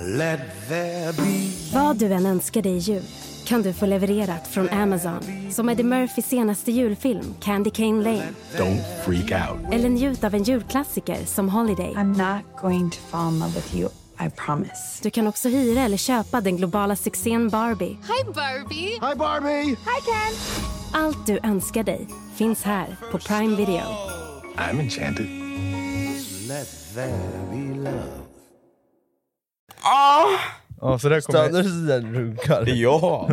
Let there be Vad du än önskar dig i jul kan du få levererat från Amazon. Som Eddie Murphys senaste julfilm Candy Cane Lane. Don't freak out. Eller njut av en julklassiker som Holiday. I'm not going to fall in love with you, I promise. Du kan också hyra eller köpa den globala succén Barbie. Hi, Barbie. Hi Barbie! Allt du önskar dig finns här på Prime Video. I'm enchanted. Let there be love. Ah! Ja, så Alltså, där kommer Stannar du sådär och runkar? Ja.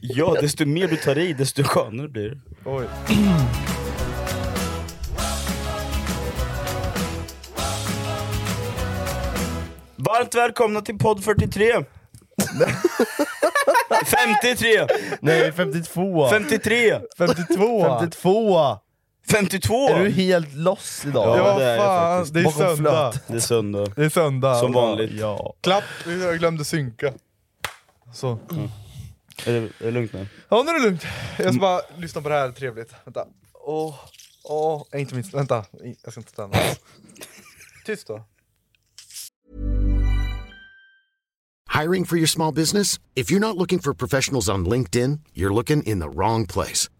ja, desto mer du tar i, desto skönare blir det. Oj. Varmt välkomna till podd 43! 53! Nej, 52! 53! 52! 52! 52! Är du helt loss idag? Ja, det är det fan, faktiskt. det är Bakom söndag. flöt. Det är söndag. Det är söndag. Som vanligt. Ja. Klapp, jag glömde synka. Så. Är det, är det lugnt nu? Ja, nu är det lugnt. Jag ska bara lyssna på det här trevligt. Vänta. Åh, åh, nej, inte minst. Vänta, I- jag ska inte stanna. Tyst då. Hiring for your small business? If you're not looking for professionals on LinkedIn, you're looking in the wrong place.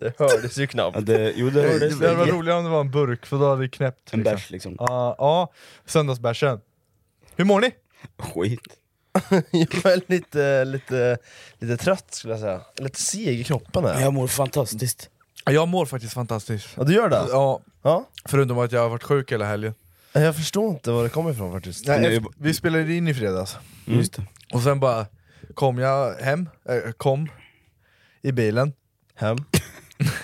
Det hördes ju knappt. Ja, det, jo, det Det hördes. hade varit roligare om det var en burk, för då hade det knäppt. En liksom. bärs liksom. Ja, ja. söndagsbärsen. Hur mår ni? Skit. Jag är lite, lite, lite trött skulle jag säga. Lite seg i kroppen här. Jag mår fantastiskt. Jag mår faktiskt fantastiskt. Ja, du gör det? Ja, Ja. förutom att jag har varit sjuk hela helgen. Jag förstår inte var det kommer ifrån faktiskt. Nej, Nej, efter- vi spelade in i fredags, Just det. och sen bara kom jag hem, äh, kom i bilen, Hem.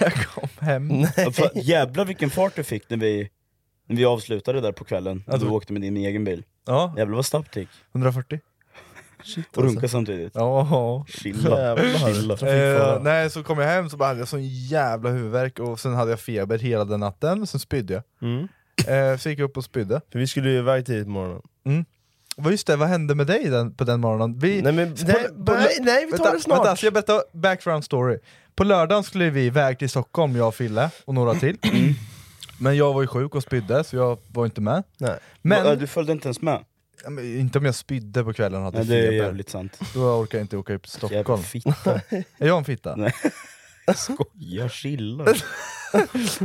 jag kom hem. Ja, fan, Jävlar vilken fart du fick när vi, när vi avslutade där på kvällen. Att du åkte med din egen bil. Ja, Jävlar vad snabbt det gick. 140. Och runka samtidigt. Ja. Chilla. Jävlar. Eh, Trafikfara. nej, så kom jag hem så bara hade jag sån jävla huvudvärk och sen hade jag feber hela den natten, sen spydde jag. Mm. Eh, så gick jag upp och spydde. För vi skulle ju iväg tidigt på morgonen. Vad just det, vad hände med dig den, på den morgonen? Vi, Nej, men- nej, nej, nej, vi tar vänta, det snart. Vänta, ska jag berätta background story? På lördagen skulle vi iväg till Stockholm, jag och Fille och några till. Mm. Men jag var ju sjuk och spydde, så jag var inte med. Nej. Men, Ja, Du följde inte ens med? Ja, men inte om jag spydde på kvällen och hade Nej, det är feber. jävligt sant. Då orkar jag inte åka upp till Jävla Stockholm. fitta. Är jag en fitta? Nej. Skoja, chilla.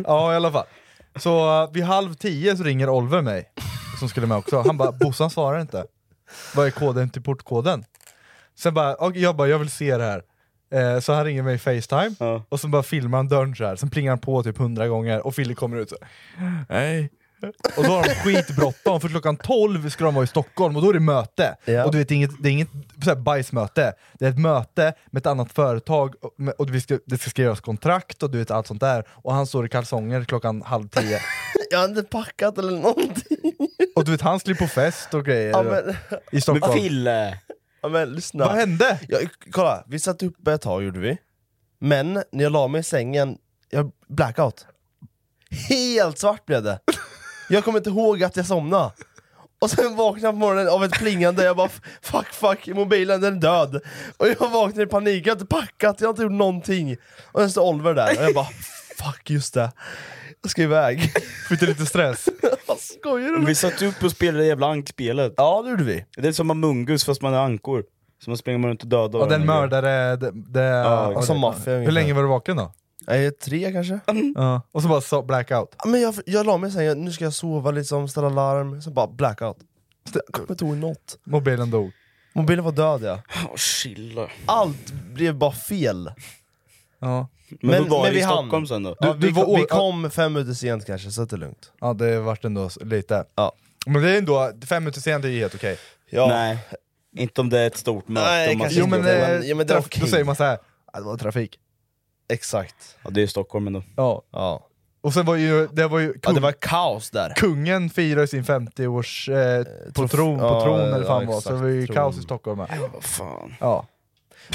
Ja, i alla fall. Så uh, vid halv tio så ringer Oliver mig, som skulle med också. Han bara, Bossan svarar inte. Vad är koden till portkoden? Sen bara, och jag bara, jag vill se det här. Eh, så han ringer mig i Facetime, Ja. och sen bara filmar han dörren så här. sen plingar han på typ hundra gånger, och Fille kommer ut så här, Nej. Och då har de skitbråttom, för klockan 12 ska de vara i Stockholm och då är det möte. Ja. Och du vet, det är inget, det är inget så här bajsmöte, det är ett möte med ett annat företag och, med- och vi ska, det ska skrivas kontrakt och du vet allt sånt där. Och han står i kalsonger klockan halv tio. Jag hade inte packat eller någonting. och du vet, han skulle på fest och grejer Ja, men, i Stockholm. Fille! ja, men lyssna. Vad hände? Ja, kolla, vi satt uppe ett tag gjorde vi, men när jag la mig i sängen, jag blackout. Helt svart blev det. Jag kommer inte ihåg att jag somnade. Och sen vaknade jag på morgonen av ett plingande, jag bara fuck fuck, mobilen den är död. Och jag vaknade i panik, jag har inte packat, jag har inte gjort någonting. Och sen står Oliver där och jag bara fuck just det, jag ska iväg. Fick du lite stress? Vad skojar du Vi satt upp och spelade det jävla ankspelet. Ja det gjorde vi. Det är som Amungus fast man är ankor. Så man springer runt och dödar Och den varandra. mördare... Det, det, Ja, ja, som det- maffia Hur ungefär. Mm. länge var du vaken då? Nej, tre kanske? Ja. Och så bara so blackout. Ja, Men jag, jag la mig sen, jag, nu ska jag sova liksom, ställa larm, sen bara blackout. Jag kommer inte ihåg något. Mobilen dog. Mobilen var död ja. Åh, chilla. Allt blev bara fel. Ja. Men, Men- då var det men i vi hann. Stockholm sen då. ja, du vi, var kom, vi år- kom fem minuter sent kanske, så att det är lugnt. Ja det vart ändå s- lite. Ja. Men det är ändå, fem minuter sent är ju helt okej. Ja. Nej, inte om det är ett stort möte. Nej, om man kanske Jo sitter men, och- inte, eh, men- ja, men det var traf- då okej. säger man så här. "Ja, det var trafik. Exakt. ja, det är Stockholm ändå. Ja. Ja. Och sen var ju, det var ju ja, kung, det var kaos där. kungen firar ju sin 50-års eh, på tron, på ja, tron eller ja, fan vad, så exakt, det var ju tron. kaos i Stockholm med. Vad fan. Ja.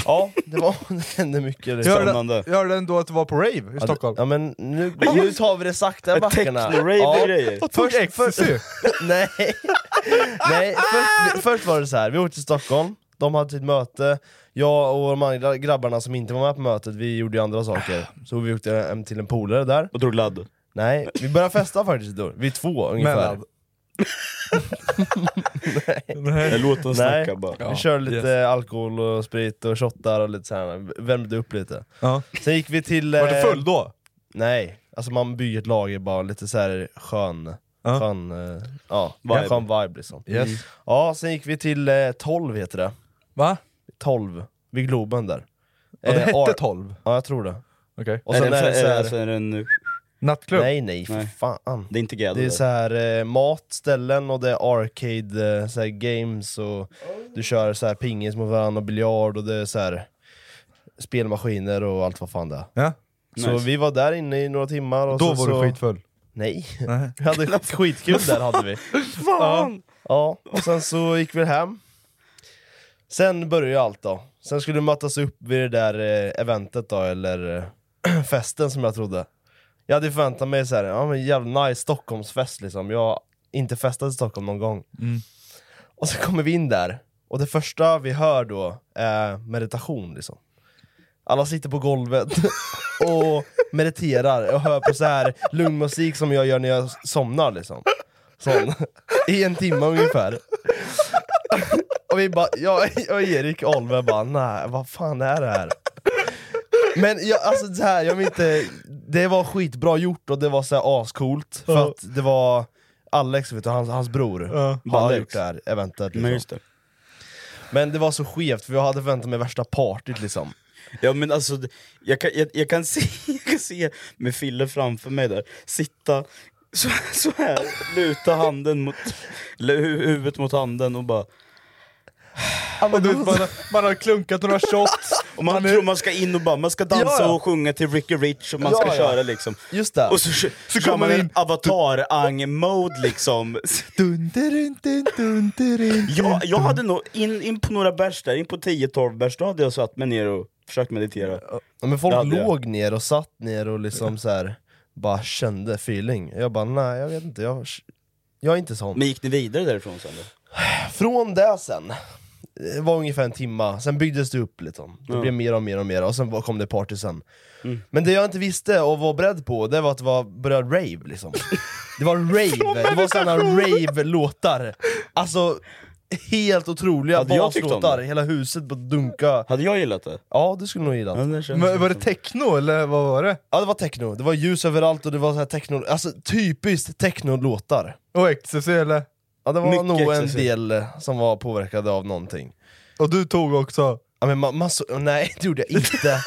Ja, det, var, det hände mycket. Jag Liksom. Spännande. hörde, jag hörde ändå att det var på rave i Ja, det- Stockholm. ja men nu, nu tar vi det sakta i backarna. techno-rave och grejer. Och tog Först- ecstasy! Nej, Nej först, först var det så här. vi åkte till Stockholm, de hade sitt möte, jag och de andra grabbarna som inte var med på mötet, vi gjorde ju andra saker. Så vi åkte hem till en polare där. Och drog ladd. Nej, vi började festa faktiskt då, vi två ungefär. Mellan. Jag låter dem Nej, snacka bara. vi körde lite alkohol och sprit och shottar och lite så här. värmde upp lite. Ja. Sen gick vi till... Var du eh, full då? Nej, alltså man bygger ett lager bara, lite så här skön, Ja. skön, eh, ja, Vibe. skön vibe liksom. Yes. Ja, sen gick vi till eh, 12 heter det. Eh, Va? 12, vid Globen där. Ja, det Eh, hette Ar- 12? Ja, jag tror det. Okej. Och sen är det så är här, det, så är det en, Nattklubb? nej nej, för Nej. fan. det är inte Det är så gädda. här eh, mat, ställen och det är arcade eh, så här, games och du kör så här pingis mot varandra och biljard och det är så här spelmaskiner och allt vad fan det är. Ja. Så vi var där inne i några timmar och Då sen var så... du skitfull? Nej, vi hade skit- skitkul där hade vi. Fan! Ja, och sen så gick vi hem. Sen började ju allt då. Sen skulle det mötas upp vid det där eh, eventet då, eller eh, festen som jag trodde. Jag hade förväntat mig såhär, ja men jävla nice Stockholmsfest liksom. Jag har inte festat i Stockholm någon gång. Och så kommer vi in där, och det första vi hör då är meditation liksom. Alla sitter på golvet och mediterar och hör på så här lugn musik som jag gör när jag somnar liksom. Sån. I en timme ungefär. Och vi bara, jag, jag och Erik och Oliver bara, nej vad fan är det här? Men jag, alltså så här, jag vill inte, det var skitbra gjort och det var så här ascoolt, för Ja. att det var Alex, vet du, hans, hans bror, Ja. han har Alex. gjort det här eventet Men liksom. just det. Men det var så skevt, för jag hade förväntat mig värsta partyt liksom. Ja men alltså, det- jag kan, jag, jag kan, se, jag kan se med Fille framför mig där, sitta så, så här, luta handen mot, eller hu- huvudet mot handen och bara... Och du, vet, man, har- man har klunkat några shots, Och man tror man ska in och bara, man ska dansa Ja, ja. och sjunga till Ricky Rich och man Ja, ska ja. köra liksom. Just det. Och så, så, så kör kommer man in- en avatar-ang-mode liksom. Dun, dun, dun, dun, dun, Jag, jag hade nog, in, in på några bärs där, in på 10-12 bärs, då hade jag satt mig ner och försökt meditera. Ja, Men Det folk hade jag. låg ner och satt ner och liksom så här, bara kände feeling. Jag bara, nej jag vet inte, jag, jag är inte sån. Men gick ni vidare därifrån sen då? Från det sen, det var ungefär en timma, sen byggdes det upp liksom. Det blev mer och mer och mer, och sen var- kom det party sen. Mm. Men det jag inte visste och var beredd på, det var att det var, började rave liksom. Det var rave, det var såna rave-låtar. Alltså, helt otroliga Hade jag tyckt om baslåtar, det? hela huset bara dunka. Hade jag gillat det? Ja, du skulle nog gilla det. Men Var det techno eller vad var det? Ja det var techno, det var ljus överallt och det var så här techno, alltså typiskt techno-låtar. Och ecstasy eller? Ja det var Mycket nog en excessivt. del eh, som var påverkade av någonting. Och du tog också? Ja, men man, man så, nej det gjorde jag inte.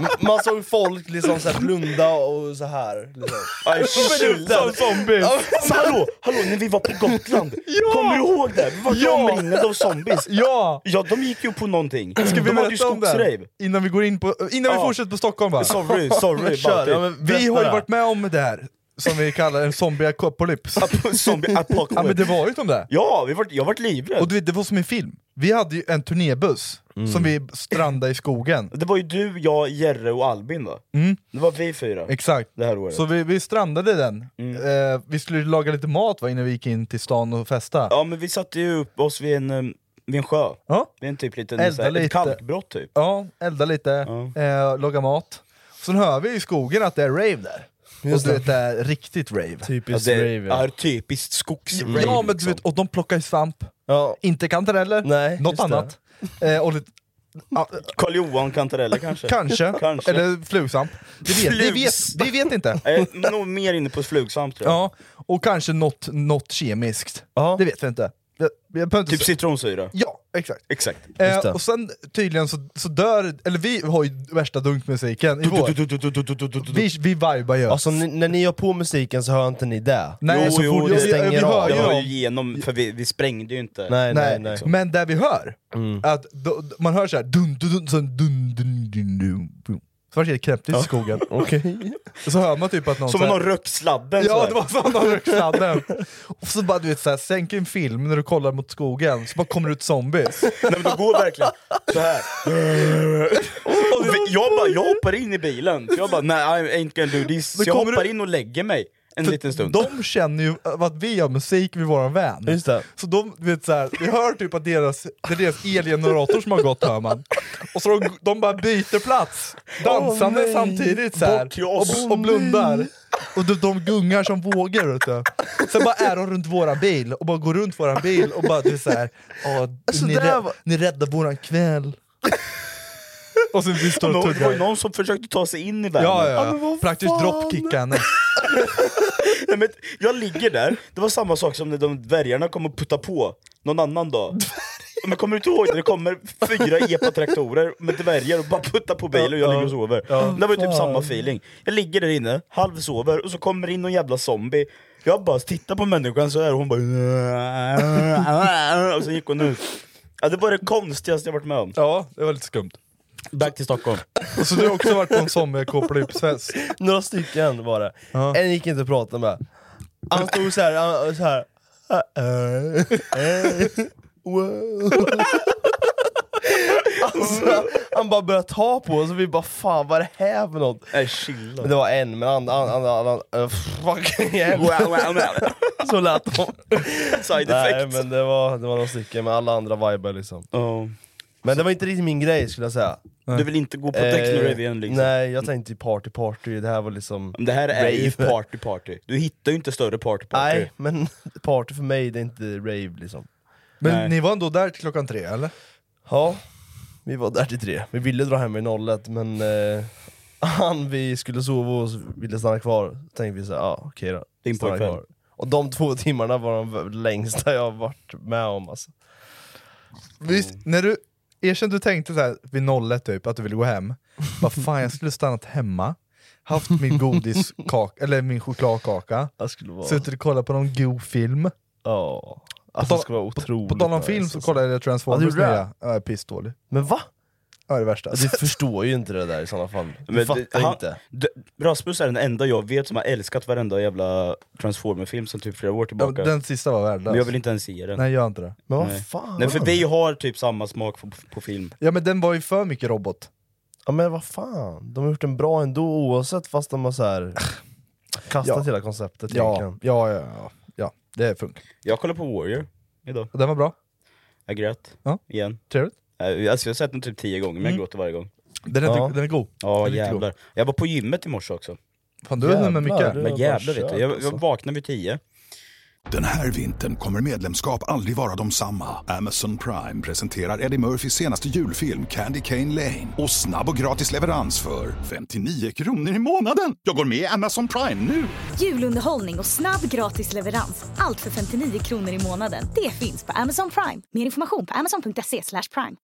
M- man såg folk liksom så här blunda och så här. Liksom. Aj, Som zombies! Ja, Men hallå, hallå, när vi var på Gotland, kommer du ihåg det? Vi var Ja! omringade av zombies. Ja! Ja, de gick ju på någonting. Ska vi Mm, de hade ju berätta om skogsrave. det? Innan vi går in på, innan vi Ja. fortsätter på Stockholm va? Sorry, typ. sorry Kör, Baltic. ja, men Vi har ju berätta varit med om det här som vi kallar en zombie apocalypse. Zombie ja men det apocalypse. var ju som det. Ja, vi var, jag vart livrädd. Och du vet, det var som i film. Vi hade ju en turnébuss Mm. som vi strandade i skogen. Det var ju du, jag, Jerre och Albin då. Mm. Det var vi fyra. Exakt. Det här året. Mm. Så vi, vi strandade den. Eh, vi skulle laga lite mat va, innan vi gick in till stan och festa. Ja men vi satte ju upp oss vid en, um, vid en sjö. Ja. Vid en typ liten, Elda så här, lite. ett kalkbrott typ. Ja, elda lite, eh, laga mat. Sen hör vi i skogen att det är rave där. och du vet, det är riktigt rave. Mm. Typiskt det rave ja. är typiskt skogsrave. ja, men du liksom. vet, och de plockar ju svamp. ja. Inte kantareller, Nej, något just det. annat. Eh, och lite, ja, Karl Johan kantareller kanske? kanske. Kanske. eller flugsvamp. Vi vet, vi vet, vi vet inte. Jag är Eh, nog mer inne på flugsvamp tror jag. Ja, och kanske något, något kemiskt. Ja. Det vet vi inte. Jag, jag behöver inte Typ sä- citronsyra. Ja, exakt. Exakt. Eh, det. och sen tydligen så, så dör, eller vi har ju värsta dunkmusiken i vår. Vi, vi vibar ju. Alltså ni, när ni har på musiken så hör inte ni det. Nej, så fort det vi, vi, stänger vi hör av. ju Jag hör dem. ju igenom, för vi, vi sprängde ju inte. Nej, nej, Nej, nej. Men det vi hör, Mm. att då, då- man hör såhär dun dun dun sen dun dun dun dun dun. Så vart det helt knäpptyst i skogen. Så hör man typ att någon Som så om här- någon rökt sladden Ja, sådär. det var som någon rökt sladden. Och så bara du vet såhär, sänk en film när du kollar mot skogen, så bara kommer det ut zombies. Nej men då går verkligen så här. Och vi- jag, bara, jag hoppar in i bilen, för jag bara nej I ain't gonna do this. Så jag kommer hoppar du- in och lägger mig en liten stund. De känner ju att vi gör musik vid våran vän. Just det. Så de, du vet så här, vi hör typ att deras, det är deras elgenerator som har gått hör man. Och så de, de bara byter plats, dansande Åh, nej. samtidigt så här, Bort till och, oss. och blundar. Och de, de gungar som vågor. Vet du. Sen bara är de runt våran bil, och bara går runt våran bil och bara du så här, "Ja, ni, Alltså, det där rädd, var- ni räddar våran kväll. Och sen vi står och Nå- Det var tuggar. ju någon som försökte ta sig in i värmen. Ja, ja, ja. Praktiskt droppkicka henne. Nej, men jag ligger där, det var samma sak som när de dvärgarna kom och puttade på någon annan dag. Men kommer du inte ihåg när det kommer fyra epatraktorer med dvärgar och bara puttar på bilen och jag ligger och sover? Det var ju typ samma feeling. Jag ligger där inne, halvsover, och så kommer in någon jävla zombie. Jag bara tittar på människan så här och hon bara... Och sen gick hon ut. Ja, det var det konstigaste jag varit med om. Ja, det var lite skumt. Back till Stockholm. Och så du har också varit på en zombie-apokalypsfest? Några stycken var det. En gick inte att prata med. Han stod såhär, han, så här. "Eh, eh, eh, wow." Alltså, han bara började ta på oss och vi bara fan vad är det här för något? Nej, chilla. Men det var en, men andra, andra, andra, andra fucking hell. Wow, wow, wow. Så lät de. Side Nej effect. men det var, det var några stycken, men alla andra vibar liksom. Ja. Men det var inte riktigt min grej skulle jag säga. Du vill inte gå på techno-rave igen liksom? Eh, Nej, jag tänkte ju party party, det här var liksom... Men Det här är ju Rave. party party. Du hittar ju inte större party party. Nej, men party för mig det är inte rave liksom. Men Nej. ni var ändå där till klockan tre eller? Ja, vi var där till tre. Vi ville dra hem vid 01 men eh, han vi skulle sova hos ville stanna kvar. Tänkte vi såhär, ja ah, okej då. Din stanna pojkvän. kvar. Och de två timmarna var de v- längsta jag har varit med om alltså. Mm. Visst, när du erkände du tänkte så här vid nollet typ, att du ville gå hem, vad fan jag skulle stannat hemma, haft min godiskaka, eller min chokladkaka, Jag skulle vara... suttit och kollat på någon god film. Ja. Alltså det skulle vara otroligt På tal om nice, film så alltså. kollade jag Ja, Transformers du gjorde det? nya. Ja, jag är pissdålig. Men va? Ja, det är det värsta. Du förstår ju inte det där i sådana fall. Du Men fattar han- inte. D- Rasmus är den enda jag vet som har älskat varenda jävla Transformer-film sen typ flera år Ja, tillbaka. den sista var värdelös. Men jag vill inte ens se den. Nej, Nej, gör inte det. Men vad fan? för vi har typ samma smak på, på film. Ja men den var ju för mycket robot. Ja men vad fan, de har gjort den bra ändå oavsett fast de har så här kastat Ja. hela konceptet Ja, egentligen. ja, ja, ja, ja. det funkar. Jag kollar på Warrior idag. Den var bra, Jag grät. Ja. Igen. trevligt. Eh, Alltså jag har sett den typ tio gånger men Mm. jag gråter varje gång. Den är, Ja. den är god. Ja Den är riktigt god. jävlar. Jag var på gymmet i morse också. Fan du har med mycket. Jävlar. Men Ja, bara jävlar vet kör, du. Jag, alltså. jag vaknade vid tio. Den här vintern kommer medlemskap aldrig vara de samma. Amazon Prime presenterar Eddie Murphys senaste julfilm Candy Cane Lane. Och snabb och gratis leverans för 59 kronor i månaden. Jag går med i Amazon Prime nu! Julunderhållning och snabb gratis leverans. Allt för 59 kronor i månaden. Det finns på Amazon Prime. Mer information på amazon.se slash prime.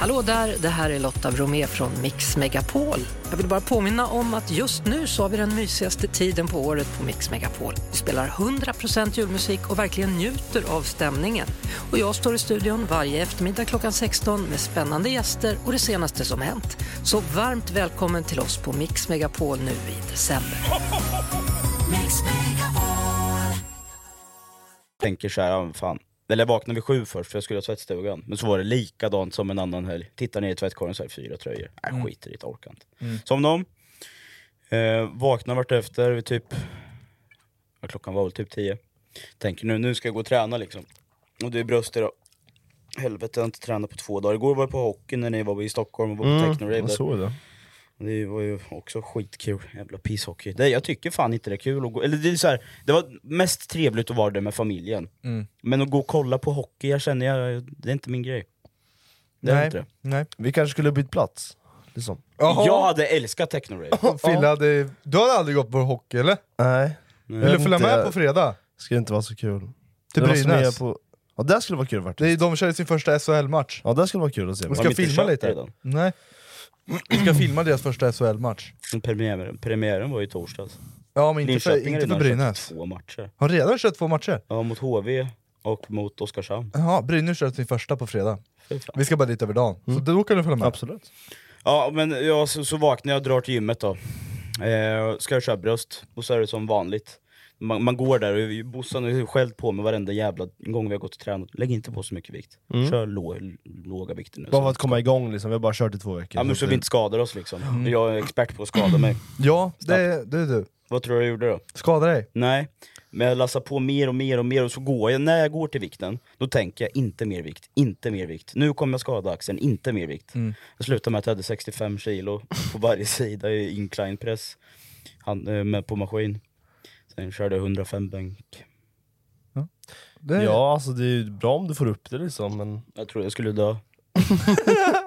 Hallå där, det här är Lotta Bromé från Mix Megapol. Jag vill bara påminna om att just nu så har vi den mysigaste tiden på året på Mix Megapol. Vi spelar 100% julmusik och verkligen njuter av stämningen. Och jag står i studion varje eftermiddag klockan 16 med spännande gäster och det senaste som hänt. Så varmt välkommen till oss på Mix Megapol nu i december. tänker så här, ja, men fan. Eller jag vaknade vid sju först för jag skulle ha tvättstugan. Men så var det likadant som en annan helg. Tittar ner i tvättkorgen så här, fyra tröjor. Nej Mm. skiter i det, orkar inte. Mm. Som dem. Eh, vaknar vartefter vid typ, ja, klockan var väl typ tio. Tänker nu, nu ska jag gå och träna liksom. Och det är bröst idag. Helvete jag har inte tränat på två dagar. Igår var jag på hockey när ni var i Stockholm och var på Mm, Technorave. jag där. såg det. Det var ju också skitkul, jävla pisshockey. Det, jag tycker fan inte det är kul att gå, eller det är så här, det var mest trevligt att vara där med familjen. Mm. Men att gå och kolla på hockey, jag känner jag, det är inte min grej. Det är Nej, inte det. nej. Vi kanske skulle ha bytt plats. Liksom. Jag hade älskat Technorave. Fille hade, du hade aldrig gått på hockey eller? Nej. Vill du följa med på fredag? Det skulle inte vara så kul. Till Det var som Brynäs. är På... Ja, det skulle vara kul faktiskt. Det är, de körde sin första SHL-match. Ja, det skulle vara kul att se. Vi ska filma lite. Nej. Vi ska filma deras första SHL-match. Premiären, premiären var ju i torsdags. Ja, men inte för- Linköping inte har för redan Brynäs. kört Två matcher. Har redan kört två matcher? Ja, mot HV och mot Oskarshamn. Jaha, Brynäs körde sin första på fredag. Fy fan. Vi ska bara dit över dagen. Så då kan du följa med. Absolut. Ja, men ja, så, så vaknar jag och drar till gymmet då. Eh, ska jag köra bröst, och så är det som vanligt. Man, man går där och Bossan har ju skällt på mig varenda jävla gång vi har gått och tränat. Lägg inte på så mycket vikt. Mm. Kör lå, låga vikter nu. Bara för att komma igång liksom, vi har bara kört i två veckor. ja, men så vi inte skadar oss liksom. Mm. Jag är expert på att skada mig. Ja, det, det är du. Vad tror du jag gjorde då? Skada dig? Nej, men jag lassar på mer och mer och mer och så går jag, när jag går till vikten, då tänker jag inte mer vikt, inte mer vikt. Nu kommer jag skada axeln, inte mer vikt. Mm. Jag slutade med att jag hade 65 kilo på varje sida i incline press Han, eh, med, på maskin. Sen körde jag 105 bänk. Det- Ja, alltså det är ju bra om du får upp det liksom, men... Jag trodde jag skulle dö.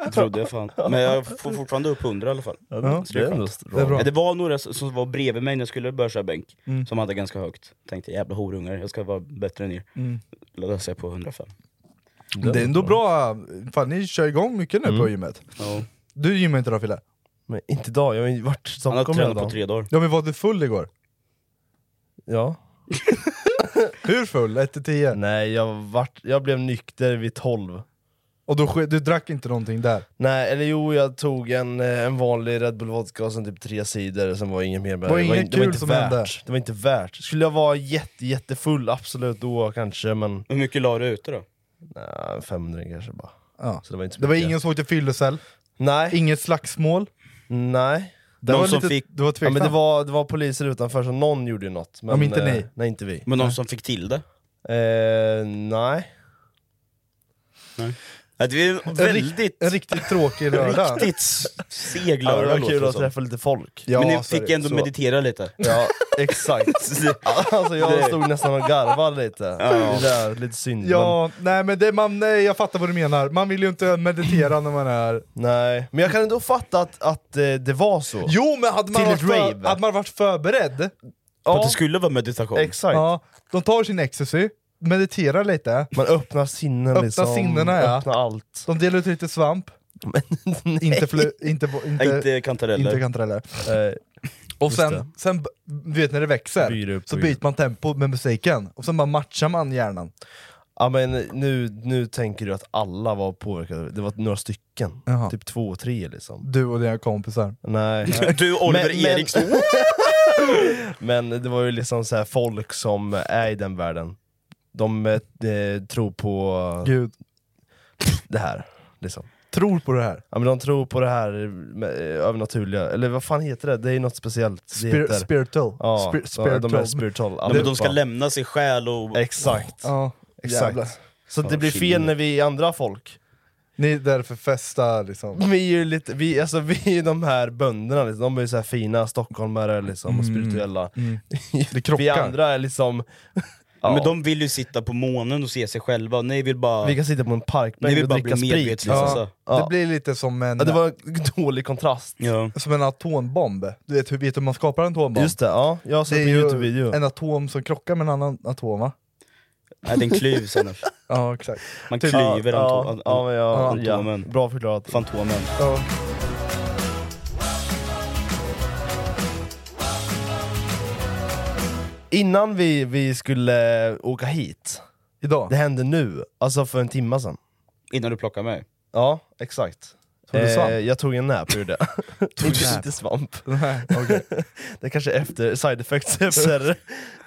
Det trodde jag fan. Men jag får fortfarande upp 100 i alla fall. Ja, det- Så det är skönt. ändå bra. Det är bra. Men det var några s- som var bredvid mig när jag skulle börja köra bänk, Mm. som hade ganska högt. Tänkte jävla horungar, jag ska vara bättre än er. Mm. Laddade sig på 105. Det är ändå bra. Fan, ni kör igång mycket nu Mm. på gymmet. Ja. Du gymmar inte idag Fille? Men inte idag, jag har ju varit i Stockholm Han har tränat hela dagen. på tre dagar. Ja men var du full igår? Ja. Hur full? 1 till 10? Nej, jag, vart, jag blev nykter vid 12. Och då, ske- du drack inte någonting där? Nej, eller jo, jag tog en, eh, en vanlig Red Bull Vodka och sen typ tre sidor, sen var inget mer med Var det. Det var inget in- det var kul inte som värt. hände? Det var inte värt. Skulle jag vara jätte, jättefull, absolut då kanske, men... Hur mycket la du ute då? Nej, 500 kanske bara. Ja. Så det var inte så Det var mycket. ingen som åkte fyllecell? Nej. Inget slagsmål? Nej. Det var lite, Du var ja, tveksam? men det, var, det var poliser utanför, så någon gjorde ju något. Men, Ja, men inte eh, ni? Nej, inte vi. Men någon Nej. som fick till det? Eh, nej. Ja, det är en väldigt... En riktigt tråkig lördag. Riktigt s- seg Ja, lördag det var låter kul det att som. träffa lite folk. Men ni fick ändå så- meditera lite. Ja, exakt. alltså Det- jag stod nästan och garvade lite. Det där, lite synd. Ja, nej men det, man, nej, jag fattar vad du menar. Man vill ju inte meditera när man är... Nej, men jag kan ändå fatta att, att eh, det var så. Jo men hade man, Till varit, ett för, rave. hade man varit förberedd... För att det skulle vara meditation. Exakt. Ja, de tar sin ecstasy, mediterar lite, Man öppnar sinnen öppnar liksom. sinnena ja. Öppnar allt. De delar ut lite svamp. inte, flu, inte, bo- inte, Nej, inte kantareller. Inte kantareller. Eh, Och just det. sen, sen, b- du vet när det växer, Byr upp så och byter man tempo med musiken, och sen bara matchar man hjärnan. Ja men nu, nu tänker du att alla var påverkade, det var några stycken. Jaha. Typ två, tre liksom. Du och dina kompisar. Nej. Du, Oliver Men- men- Eriksson. Men det var ju liksom så här folk som är i den världen. De eh, tror på Gud, det här. Liksom. tror på det här. Ja, men de tror på det här med, eh, övernaturliga, eller vad fan heter det? Det är något speciellt. Det Spir- heter. spiritual. Ja, Spir- ja, de är spiritual. Ja, men de ska allihopa. lämna sin själ och... Exakt. Ja, Exakt. jävlar. Så Ja, det blir chilling. fel när vi är andra folk. Ni är därför festar liksom. Vi är ju lite, vi, alltså, vi är ju de här bönderna, liksom. de är ju så här fina stockholmare liksom, och spirituella. Det Mm. krockar. Vi andra är liksom... Ja, Men de vill ju sitta på månen och se sig själva, ni vill bara... Vi kan sitta på en Ni parkbänk vill och bara dricka bli sprit. medvetslösa. Liksom. Ja. Ja. Det blir lite som en, Ja, det var en dålig kontrast. Ja. som en atombomb. Du vet hur, vet hur man skapar en atombomb? Just det, ja. jag har det sett är en ju Youtube-video. en atom som krockar med en annan atom va? Nej, den klyvs annars. Ja exakt. Man Typ. klyver Ja, anto- ja, men jag, an- ja, antomen. bra förklarat. Fantomen. Ja. Innan vi, vi skulle åka hit, Idag? det hände nu, alltså för en timma sedan. Innan du plockar mig. Ja, exakt. Tog du svamp? Eh, jag tog en nap och gjorde det. Tog du inte, nap? inte svamp. Nej, det är kanske efter side effects efter,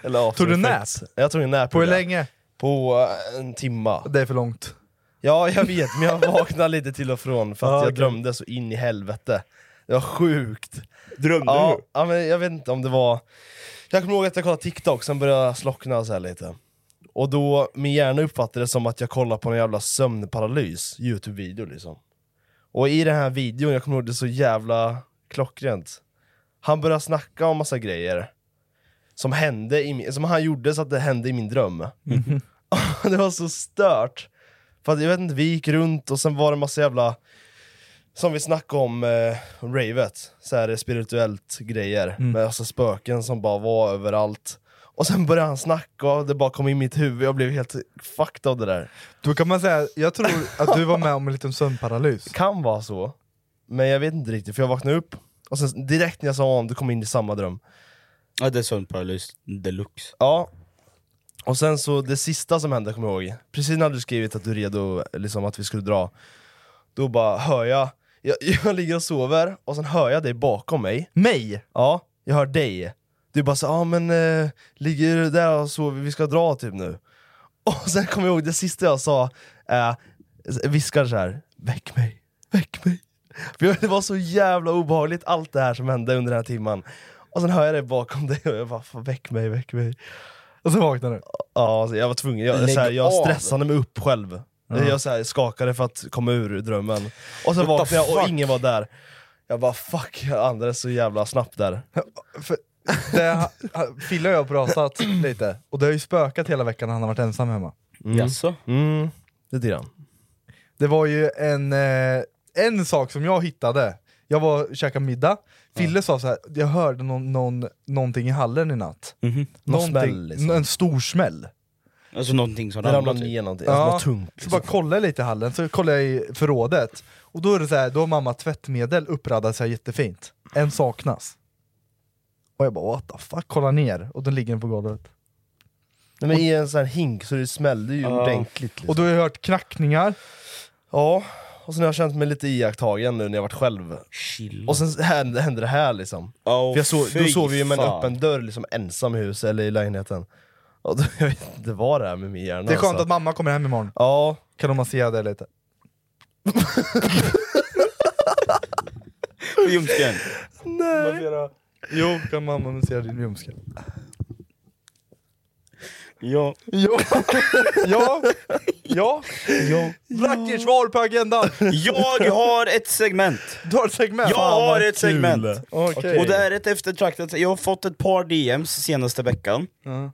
eller after Tog du effects. nap? Jag tog en nap. På hur gjorde jag. länge? På eh, en timma. Det är för långt. Ja, jag vet, men jag vaknade lite till och från för att Ja, jag okej. drömde så in i helvete. Det var sjukt. Drömde ja, du? Ja, men jag vet inte om det var... Jag kommer ihåg att jag kollade TikTok, sen började jag slockna så här lite. Och då, min hjärna uppfattade det som att jag kollade på en jävla sömnparalys, Youtube-video liksom. Och i den här videon, jag kommer ihåg det så jävla klockrent. Han började snacka om massa grejer som hände i min, som han gjorde så att det hände i min dröm. det var så stört. För att, jag vet inte, vi gick runt och sen var det massa jävla, som vi snackade om, eh, ravet, så här spirituellt grejer, med alltså spöken som bara var överallt. Och sen började han snacka och det bara kom in i mitt huvud, jag blev helt fucked av det där. Då kan man säga, jag tror att du var med om en liten sömnparalys. Kan vara så, men jag vet inte riktigt för jag vaknade upp och sen direkt när jag sa om, du kom in i samma dröm. Ja, det är sömnparalys deluxe. Ja. Och sen så det sista som hände, kommer jag ihåg, precis när du skrivit att du är redo liksom, att vi skulle dra, då bara hör jag, jag, jag ligger och sover och sen hör jag dig bakom mig. Mig? Ja, jag hör dig. Du bara så, ja ah, men eh, ligger du där och sover, vi ska dra typ nu. Och sen kommer jag ihåg det sista jag sa, eh, viskar så här, väck mig, väck mig. För jag- det var så jävla obehagligt allt det här som hände under den här timman. Och sen hör jag dig bakom dig och jag bara, fan, väck mig, väck mig. Och så vaknade du? Ja, alltså, jag var tvungen. Jag, Lägg så här, jag av. stressade mig upp själv. Ja. Jag så här, skakade för att komma ur drömmen. Och så What the vaknade jag och fuck? ingen var där. Jag bara fuck, jag andades så jävla snabbt där. Det, Fille och jag har pratat lite, och det har ju spökat hela veckan när han har varit ensam hemma. Mm. Jaså? Mm, lite grann. Det var ju en, eh, en sak som jag hittade, jag var och käkade middag, Fille sa så här, jag hörde någon, någon, någonting i hallen i natt. Mhm. Någon Någonting- smäll, liksom. En stor smäll. Alltså någonting som Det ramlar ramlade typ. ner någonting, alltså något tungt. Så bara liksom. kollade jag lite i hallen, så kollade jag i förrådet, och då är det så här, då har mamma tvättmedel uppradat så här jättefint. En saknas. Och jag bara what the fuck, kolla ner, och den ligger den på golvet. Nej, men I en sån här hink så det smällde ju Ja. ordentligt. Liksom. Och du har jag hört knackningar. Ja, och sen har jag känt mig lite iakttagen nu när jag varit själv. Och sen hände, hände det här liksom. Oh, För jag såg, då fy sov vi ju med en fan. öppen dörr liksom ensam i huset eller i lägenheten. Och då, jag vet inte vad det är med min hjärna Det är skönt alltså. att mamma kommer hem imorgon. Ja. Kan de massera dig lite? Ljumsken. Nej. Jo, kan mamma massera din ljumske? Ja. Ja. ja. Ja. ja. Blackers svar på agendan. Jag har ett segment! Du har ett segment? Jag Fan, har vad ett kul. segment! Okej. Och det är ett eftertraktat Jag har fått ett par DMs senaste veckan. Ja.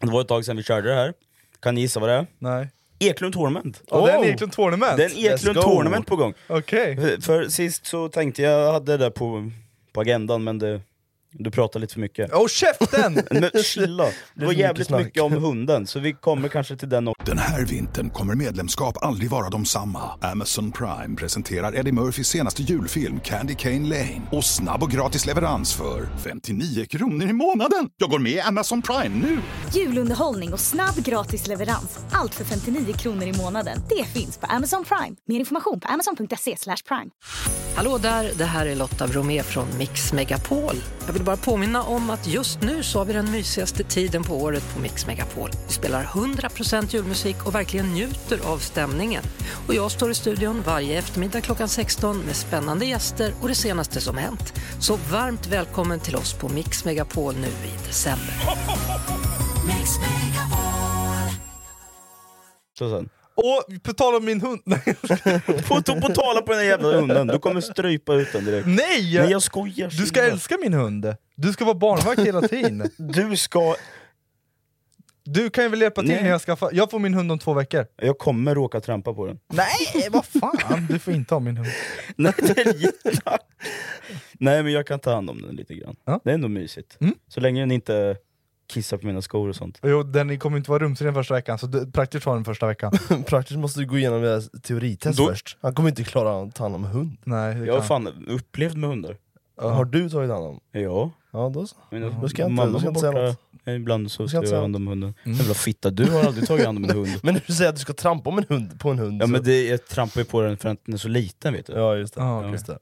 Det var ett tag sedan vi körde det här. Kan ni gissa vad det är? Nej. Eklund Tournament. Ja, det är en Eklund Tournament. Oh. Det är en Eklund Let's go. Tournament på gång. Okej. För, för sist så tänkte jag, jag hade det där på, på agendan, men det, du pratar lite för mycket. Åh käften! Men chilla! Det var mycket jävligt snack. mycket om hunden, så vi kommer kanske till den också. Den här vintern kommer medlemskap aldrig vara de samma. Amazon Prime presenterar Eddie Murphys senaste julfilm Candy Cane Lane. Och snabb och gratis leverans för 59 kronor i månaden. Jag går med i Amazon Prime nu! Julunderhållning och snabb gratis leverans. Allt för 59 kronor i månaden. Det finns på Amazon Prime. Mer information på amazon.se slash prime. Hallå där, det här är Lotta Bromé från Mix Megapol. Jag vill bara påminna om att just nu så har vi den mysigaste tiden på året på Mix Megapol. Vi spelar 100% julmusik och verkligen njuter av stämningen. Och jag står i studion varje eftermiddag klockan 16 med spännande gäster och det senaste som hänt. Så varmt välkommen till oss på Mix Megapol nu i december. Så sen. Och på tal om min hund... Nej. På, på, på tala på den här jävla hunden, du kommer strypa ut den direkt. Nej! Nej jag skojar! Du ska Silla. älska min hund. Du ska vara barnvakt hela tiden. Du ska... Du kan ju väl hjälpa till Nej. när jag skaffar... Jag får min hund om två veckor. Jag kommer råka trampa på den. Nej, vad fan! Du får inte ha min hund. Nej, det är jätte- Nej men jag kan ta hand om den lite grann. Det är ändå mysigt. Så länge den inte kissar på mina skor och sånt. Jo, den kommer inte vara rumsren första veckan, så du- praktiskt var den första veckan. Praktiskt måste du gå igenom deras teoritest Då- först. Han kommer inte klara att ta hand om hund. Nej, det Jag har kan- fan upplevt med hundar. Har du tagit hand om? Ja. Ja, då så. Men Då ska jag inte, mamma då ska jag inte var säga något. Ibland så ska ska inte jag säga hand om något. hunden. Mm. Jävla fitta, du har aldrig tagit hand om en hund. Men när du säger att du ska trampa om en hund, på en hund Ja så... men det, jag trampar ju på den för att den är så liten vet du. Ja just Ah, det. Ja, just det.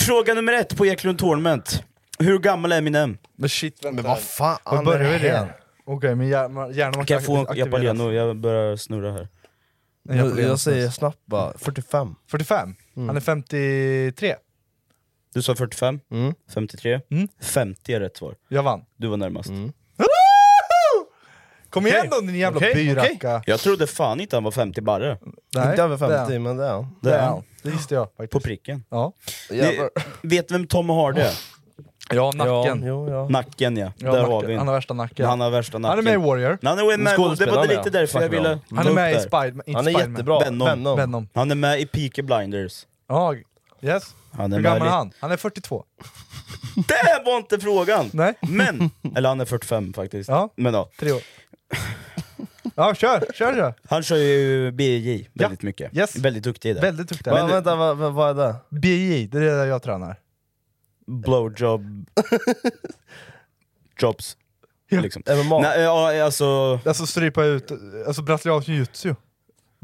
Fråga nummer ett på Eklund Tornment. Hur gammal är Eminem? Men shit vänta. Men vad fan Vad börjar vi är det redan? här? Okej, min hjärna, hjärna måste Kan jag få en aktiveras. Japaleno? Jag börjar snurra här. En Jag, Japaleno jag säger snus. snabbt bara, 45. 45? Han är 53. Du sa 45, Mm. 53, 50 är rätt svar. Jag vann. Du var närmast. Mm. Kom igen då din jävla Okej, okej. byracka! Jag trodde fan inte han var 50 barre. Nej, Inte över det är 50 han. men det är han. Det är han. Det visste jag faktiskt. På pricken. Ja, Det, vet vem Tom Hardy är? ja Ja, nacken. jo, ja. Nacken ja, Ja, där nacken. har vi Han en. har värsta nacken. Han har värsta nacken. Han är med i Warrior. Han är med i Det var Skådespelare, lite därför jag snackar vi ville... om. Han är med i där. Spiderman. inte Han är Spiderman. jättebra. Venom. Venom. Venom. Han är med i Peaky Blinders. Ja, yes. Han är Hur med gammal är i- han? Han är 42. Det var inte frågan! Nej. Men, eller han är 45 faktiskt. Ja. Men ja. Tre år. Ja, kör, kör, kör. Han kör ju BJ Ja. väldigt mycket. Yes. Väldigt duktig i det. Väldigt duktig. Va, vänta, vad va, vad är det? BJ, det är det där jag tränar. Blowjob... Jobs. Liksom. MMA? Nej, ja, alltså... Alltså strypa ut, alltså brasiliansk jujutsu.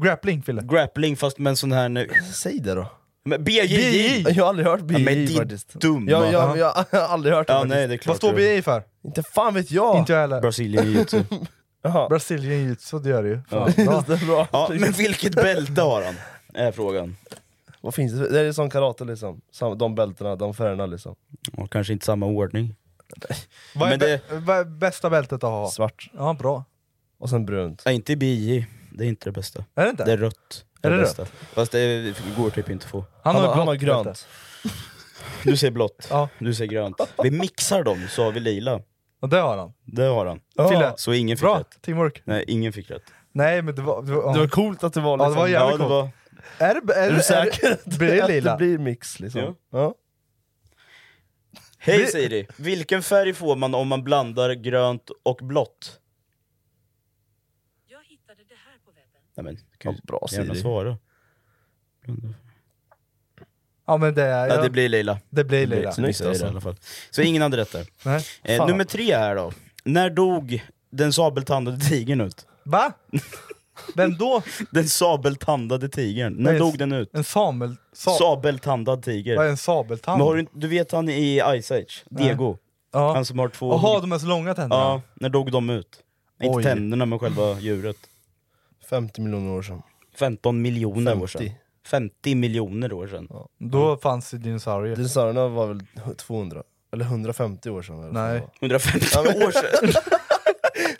Grappling, Fille. Grappling fast med en sån här... Nu. Säg det då. Men BJJ! BJJ. Jag har aldrig hört BJ Ja, men din faktiskt. dumma. Jag, jag, jag har aldrig hört det Ja, faktiskt. nej det är klart. Vad står du- BJ för? Inte fan vet jag! Inte jag heller. Brasilien jiu-jitsu. Jaha. Brasilien jujutsu, det gör det ju. Fan, bra. Just det, bra. Ja, men vilket bälte har han? Är frågan. Vad finns det? Det är som karate liksom. Sam- De bältena, de färgerna liksom. Ja, kanske inte samma ordning. Vad är, Men det- bä- vad är bästa bältet att ha? Svart. Ja, bra. Och sen brunt. Nej, inte BJ. Det är inte det bästa. Är det inte? Det är rött. Är det bästa. Fast det går typ inte att få. Han, han, har har, han har blått bälte. grönt. Du säger blått, Ja. du säger grönt. Vi mixar dem så har vi lila. Ja, det har han. Det har han. Fille. Så ingen fick Bra, rätt. teamwork. Nej, ingen fick rätt. Nej, men det var... Det var, Det var coolt att det var Ja, liksom... det var jävligt ja, det coolt. var, Är det... Är, Är det- du säker Är, att det- det, blir det att lila? det blir mix liksom? Ja. Ja. Hej Siri! Vilken färg får man om man blandar grönt och blått? Jag hittade det här på webben. Nej men, kan ju bra, gärna Siri. svara. Ja, men det är... Nej, ja, det blir lila. det blir lila. Vi säger det i alla fall. Så ingen hade rätt där. Eh, Nej. alltså. Fan. nummer tre här då. När dog den sabeltandade tigern ut? Va? Vem då? Den sabeltandade tigern, när Nej, dog den ut? En samel... Sa, Sabeltandad tiger. Vad är en sabeltand? Men har du, du vet han i Ice Age, Diego? ja. Han som har två... Jaha, de är så långa tänderna? Ja, när dog de ut? Inte Oj. tänderna men själva djuret. 50 miljoner år sedan. 15 miljoner år 50. sedan. 50 miljoner år sedan. Mm. Då fanns det dinosaurier. Dinosaurierna var väl 200? Eller 150 år sedan? Eller vad Nej. det var. 150 år sedan!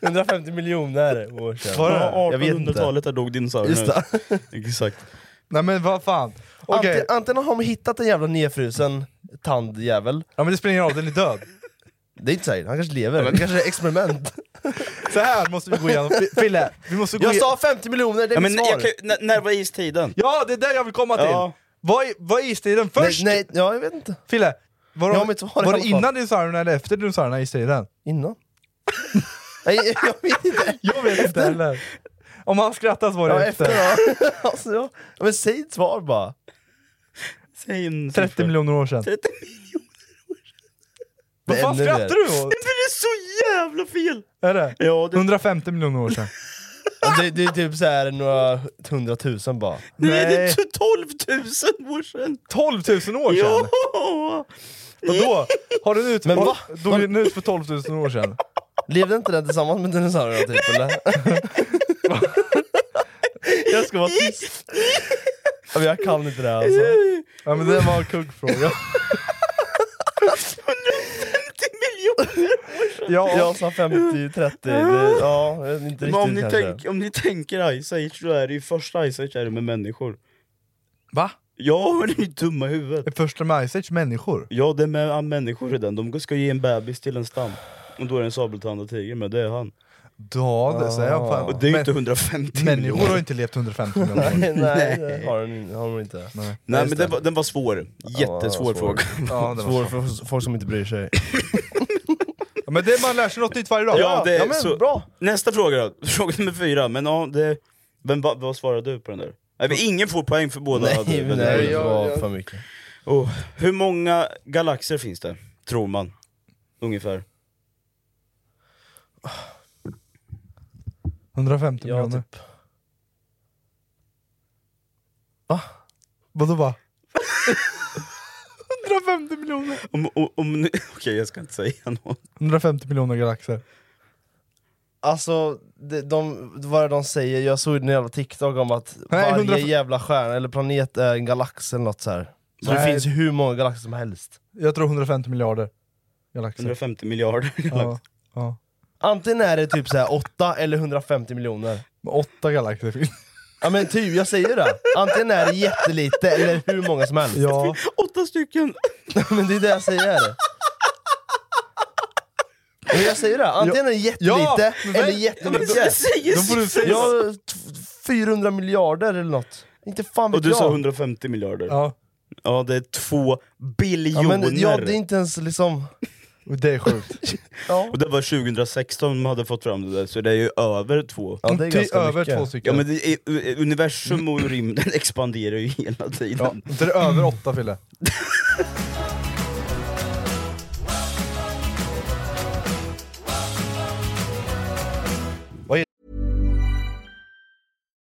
150 miljoner år sedan. Var det? Ja, Jag vet inte. 1800-talet där dog dinosaurierna Just det. ut. Exakt. Nej men vad fan. Okej, Ante- Antingen har de hittat en jävla nedfrusen tandjävel, ja, men det spelar ingen roll, den är död. det är inte säkert, han kanske lever, det kanske är experiment. Så här måste vi gå igenom. F- Fille, vi måste gå Jag igenom. sa 50 miljoner, det är Ja, men mitt svar! jag kan, ju- när, när var istiden? Ja, det är där jag vill komma till! Ja. Vad är, vad är istiden först? Nej, nej, ja jag vet inte. Fille, var, de, Ja, men så har det i var det alla fall. innan dinosaurierna eller efter dinosaurierna i istiden? Innan? nej, jag vet inte. Jag vet inte heller. Om han skrattar så var det Ja, efter. efter då. alltså, ja. Ja, Men säg ett svar bara. Säg en 30 siffra. miljoner år sedan. 30 Vad Det är fan ännu skrattar mer. du åt? Det är så jävla fel! Är det? Ja, det, 150 miljoner år sedan. Ja, Det, det är typ så här några hundratusen bara. nej. det är Nej. 12 000 år sedan! 12 000 år sedan? Ja! Vadå? Har den ut, Men va? Dog den ut för 12 000 år sedan? Levde inte den tillsammans med dinosaurierna typ eller? jag ska vara tyst. Ja, men jag kan inte det här alltså. Ja men det var en kuggfråga. Ja, Jag sa 50, 30, det, ja, jag vet inte Men riktigt om, ni kanske. tänk, om ni tänker Ice Age, då är det ju första Ice Age är det med människor. Va? Ja, men det är ju dumma i huvudet. Är första med Ice Age människor? Ja, det är med människor i den. De ska ge en bebis till en stam. Och då är det en sabeltandad tiger med, det är han. Ja, det säger jag fan. Och det är ju Men- inte 150 Människor miljoner. har inte levt 150 miljoner år. Nej, nej, det har den, har den inte. Nej Just men det. den var, den var svår. Jättesvår svår. fråga. Ja, det var Svår för folk som inte bryr sig. Ja, men det, man lär sig något nytt varje dag. Ja, det är ja, men så- bra. Nästa fråga då, fråga nummer fyra. Men ja, det... Men vad, vad svarar du på den där? Nej, men ingen får poäng för båda. Nej, hade- men det är jag- bra jag- för mycket. Oh, hur många galaxer finns det, tror man? Ungefär. 150 Ja, miljoner. typ. Va? Vadå va? 150 miljoner! Om, om, om, ni- Okej, jag ska inte säga något. 150 miljoner galaxer. Alltså, de, de, vad är det de säger? Jag såg en jävla TikTok om att Nej, varje 100 jävla stjärna eller planet är en galax eller något så här. Så det Nej. finns hur många galaxer som helst. Jag tror 150 miljarder galaxer. 150 miljarder ja, galaxer. ja. Antingen är det typ så här 8 eller 150 miljoner. Men Åtta galaxer finns. Ja men typ, jag säger det. Antingen är det jättelite eller hur många som helst. Ja. Åtta stycken! men det är det jag säger. Men jag säger det, antingen är det jättelite Ja, men- eller Ja, men jättemycket. säg Då får du säga- Ja, t- 400 miljarder eller något. Inte fan vet Och du jag. sa 150 miljarder? Ja. Ja, det är två ja, biljoner! men, ja, det är inte ens liksom... Och Det är sjukt. Ja. Och det var 2016 man hade fått fram det där, så det är ju över två. Ja, det är Ty- ganska över mycket. två Ja stycken. men det är, u- universum och rymden expanderar ju hela Ja, tiden. inte det över åtta Fille?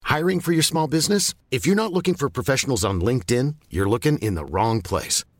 Hiring for your small business? If you're not looking for professionals on LinkedIn, you're looking in the wrong place.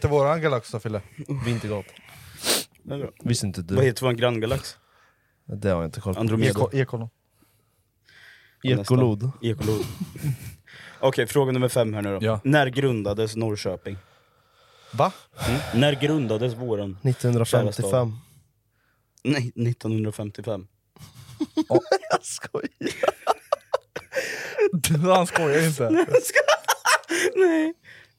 Till våran galax då Fille? Vintergatan. Det är bra. Visste inte Vad du? heter vår granngalax? Det har jag inte koll på. Andromeda? Eko- Ekollon. Ekolod. Nästan. Ekolod. Okej, fråga nummer fem här nu då. Ja. När grundades Norrköping? Va? Mm? När grundades våren? 1955. Nej, 1955. Jag skojar. Han skojar inte. Nej!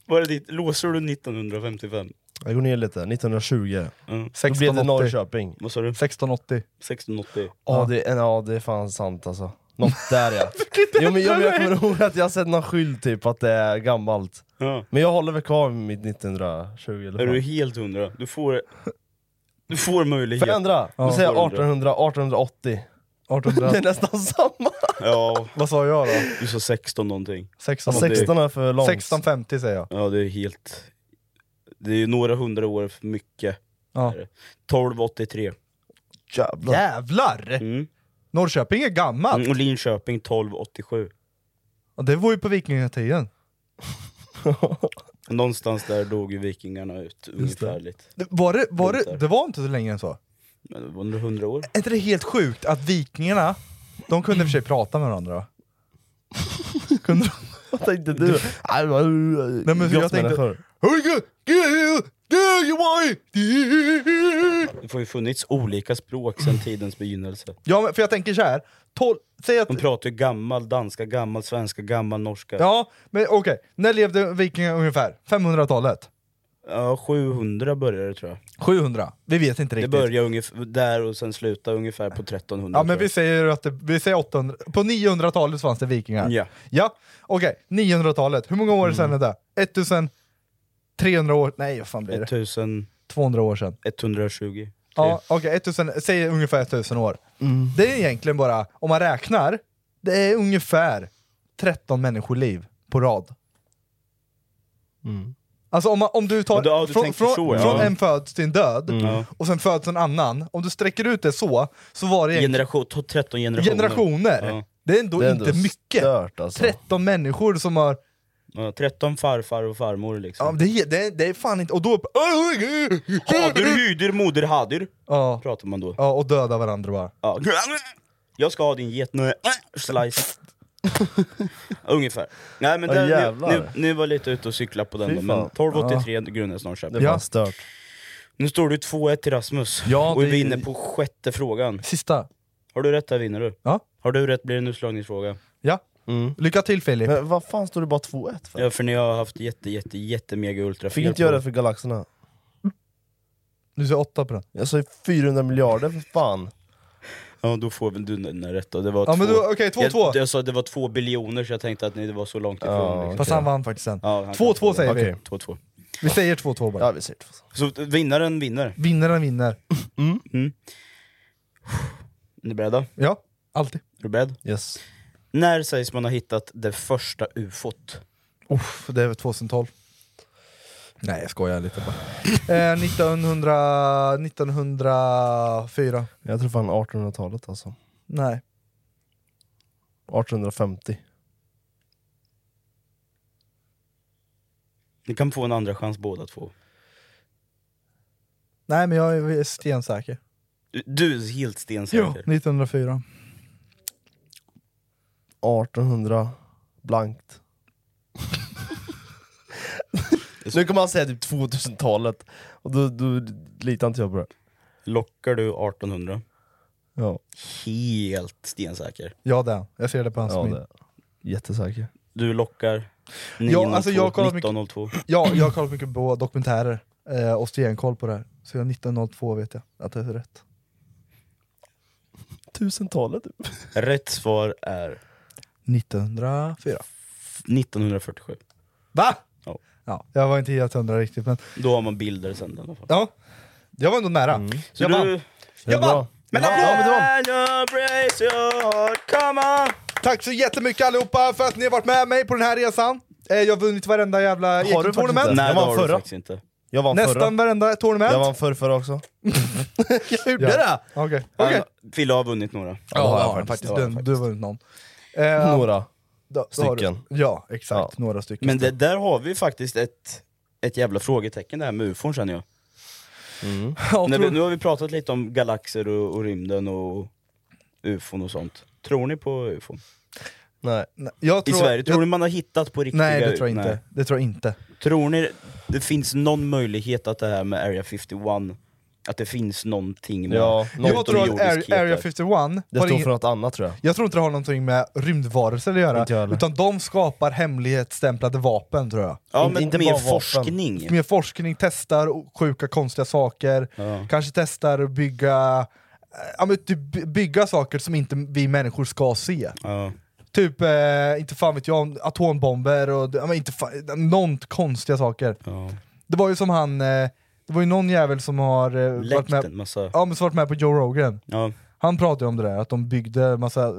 Var det ditt? Låser du 1955? Jag går ner lite, 1920. Då blev det 1680. Norrköping. Vad sa du? 1680. 1680? Ja det, är- ja det är fan sant alltså. Något där ja. jo, men, jo, men jag kommer ihåg att jag har sett någon skylt typ att det är gammalt. Ja. Men jag håller väl kvar med mitt 1920 eller Är du vad. helt hundra? Du får... Du får möjlighet. Får jag ändra? Då säger jag 1800, 1880. Det 1800. är nästan samma. Ja, Vad sa jag då? du sa 16 någonting. 1680. 16 är för långt. 1650 säger jag. Ja, det är helt... Det är ju några hundra år för mycket. Ja. 1283. Jävlar. Jävlar! Mm. Norrköping är gammalt. Mm, Och Linköping 1287. Ja, Det var ju på vikingatiden. Någonstans där dog ju vikingarna ut, ungefärligt. Det var, det, var det, Väntar. det var inte så länge än så. Men det var Under hundra år. Är inte det helt sjukt att vikingarna, de kunde i och för sig prata med varandra? kunde de? Vad tänkte du? Nej, men Nej, men jag tänkte- grottmänniskor. Det har ju funnits olika språk sedan tidens begynnelse. Ja, men, för jag tänker så här. Tol- säg att De pratar ju gammal danska, gammal svenska, gammal norska. Ja, men okej. När levde vikingarna ungefär? 500-talet? Ja, 700 började det tror jag. 700? Vi vet inte Det riktigt. började ungefär där och sen slutade ungefär på 1300. Ja men tror vi jag. säger att det, vi säger 800, på 900-talet fanns det vikingar. Ja. Mm. Ja, okej. 900-talet, hur många år sedan är det? 1300 år, nej vad fan blir det? 1000 200 år sedan. 120. Ja, Typ. okej, 1000 säg ungefär 1000 år. Mm. Det är egentligen bara, om man räknar, det är ungefär 13 människoliv på rad. Mm. Alltså om, man, om du tar Ja, du- ja, du från, tänker från, så, ja. från Ja. en föds till en död, Ja. och sen föds en annan, om du sträcker ut det så, så var det egentligen Generation, to- 13 generationer. generationer. Ja. Det är ändå Det är ändå inte mycket. stört, alltså. 13 människor som har... Ja, 13 farfar och farmor Ja, liksom. det, är- det, är- det är fan inte... Och då... Hadur, hydur, moder, hadur. Ja, Pratar man då. ja och döda varandra bara. Ja. Jag ska ha din get nu, slice. Ungefär. Nej men Ja, det, nu, jävlar. nu, nu var jag lite ute och cykla på den Fy då, men fan. 12.83 Ja. Grunden snart sett. Det var Ja. stört. Nu står du 2-1 till Rasmus, Ja, och det- vi är inne på sjätte frågan. Sista. Har du rätt här vinner du. Ja. Har du rätt blir det en utslagningsfråga. Ja. Lycka till Filip. Mm. Men vad fan står det bara 2-1 för? Ja, för ni har haft jätte, jätte, jätte mega ultra Fick inte göra det för galaxerna? Du sa 8 på den. Jag sa ju 400 miljarder för fan. Ja, då får väl du den rätt då. Det var Ja, men två- då- okej, två, jag, två. Jag sa att det var två biljoner så jag tänkte att ni var så långt ifrån. Ja, liksom. Fast han vann faktiskt sen. Ja, han 2-2 kan- säger vi. Okej, 2-2. Vi säger 2-2 bara. Ja, vi ser det. Så vinnaren vinner. Vinnaren vinner. Mm. Är ni beredda? Ja, alltid. Är du beredd? Yes. När sägs man ha hittat det första ufot? Uff, det är väl 2012. Nej jag skojar lite bara. Eh, 1900, 1904. Jag tror fan 1800-talet alltså. Nej. 1850. Ni kan få en andra chans båda två. Nej men jag är stensäker. Du- Du är helt stensäker. 1904. 1800 blankt. nu kommer han säga typ 2000-talet, och då, då litar inte jag på det. Lockar du 1800? Ja, Helt stensäker. Ja det är han. Jag ser det på hans ja min. det. Alltså, Jättesäker. Du lockar 902, Ja, alltså, jag har kollat mycket- 1902. Ja, jag har kollat mycket på dokumentärer eh, och stenkoll på det här. Så jag 1902 vet jag att det är rätt. 1000-talet typ. Rätt svar är 1904. 1947. Va? Ja. Ja, jag var inte helt hundra riktigt men Då har man bilder sen i alla fall. ja. Jag var ändå nära. Så Jag du... vann. Jag vann! Men ja, men det var- Brace your heart, come on! Tack så jättemycket allihopa för att ni har varit med mig på den här resan. Eh, Jag har vunnit varenda du jävla faktiskt Ekentournament. inte? Nej, det Jag vann har du förra. faktiskt inte. Jag vann Nästan förra. varenda tournament. Jag vann förr, förra också. jag gjorde det! Okej. Okay. Fille har vunnit några. Ja, det har jag har han faktiskt. faktiskt. Det har jag Du, du har vunnit någon. Eh, Några. då- då har du- stycken. Ja, exakt. Ja. Några stycken. Men det, där har vi faktiskt ett, ett jävla frågetecken det här med ufon känner jag. Mm. ja, Nej, tror- men nu har vi pratat lite om galaxer och, och rymden och ufon och sånt. Tror ni på ufon? Nej. Nej, jag I tror, Sverige, tror jag, ni man har hittat på riktiga Nej, det tror jag nej. inte. Det tror jag inte. Tror ni det finns någon möjlighet att det här med Area 51, att det finns någonting med Ja, Jag tror att utomjordiskhet Area, Area där? 51 Det har står ingen, för något annat tror jag. Jag tror inte det har någonting med rymdvarelser att göra, Inte jag heller. utan de skapar hemlighetsstämplade vapen tror jag. Ja Inte- men inte mer bara vapen. forskning. Mer forskning, testar o- sjuka konstiga saker, kanske testar att bygga, ja, men typ by- bygga saker som inte vi människor ska se. Ja. Typ, eh, inte fan vet jag, atombomber och ja, men inte fan, nånt konstiga saker. Ja. Det var ju som han, eh, det var ju någon jävel som har eh, varit, Läckt med, en massa... ja, men som varit med på Joe Rogan. Ja. Han pratade ju om det där, att de byggde massa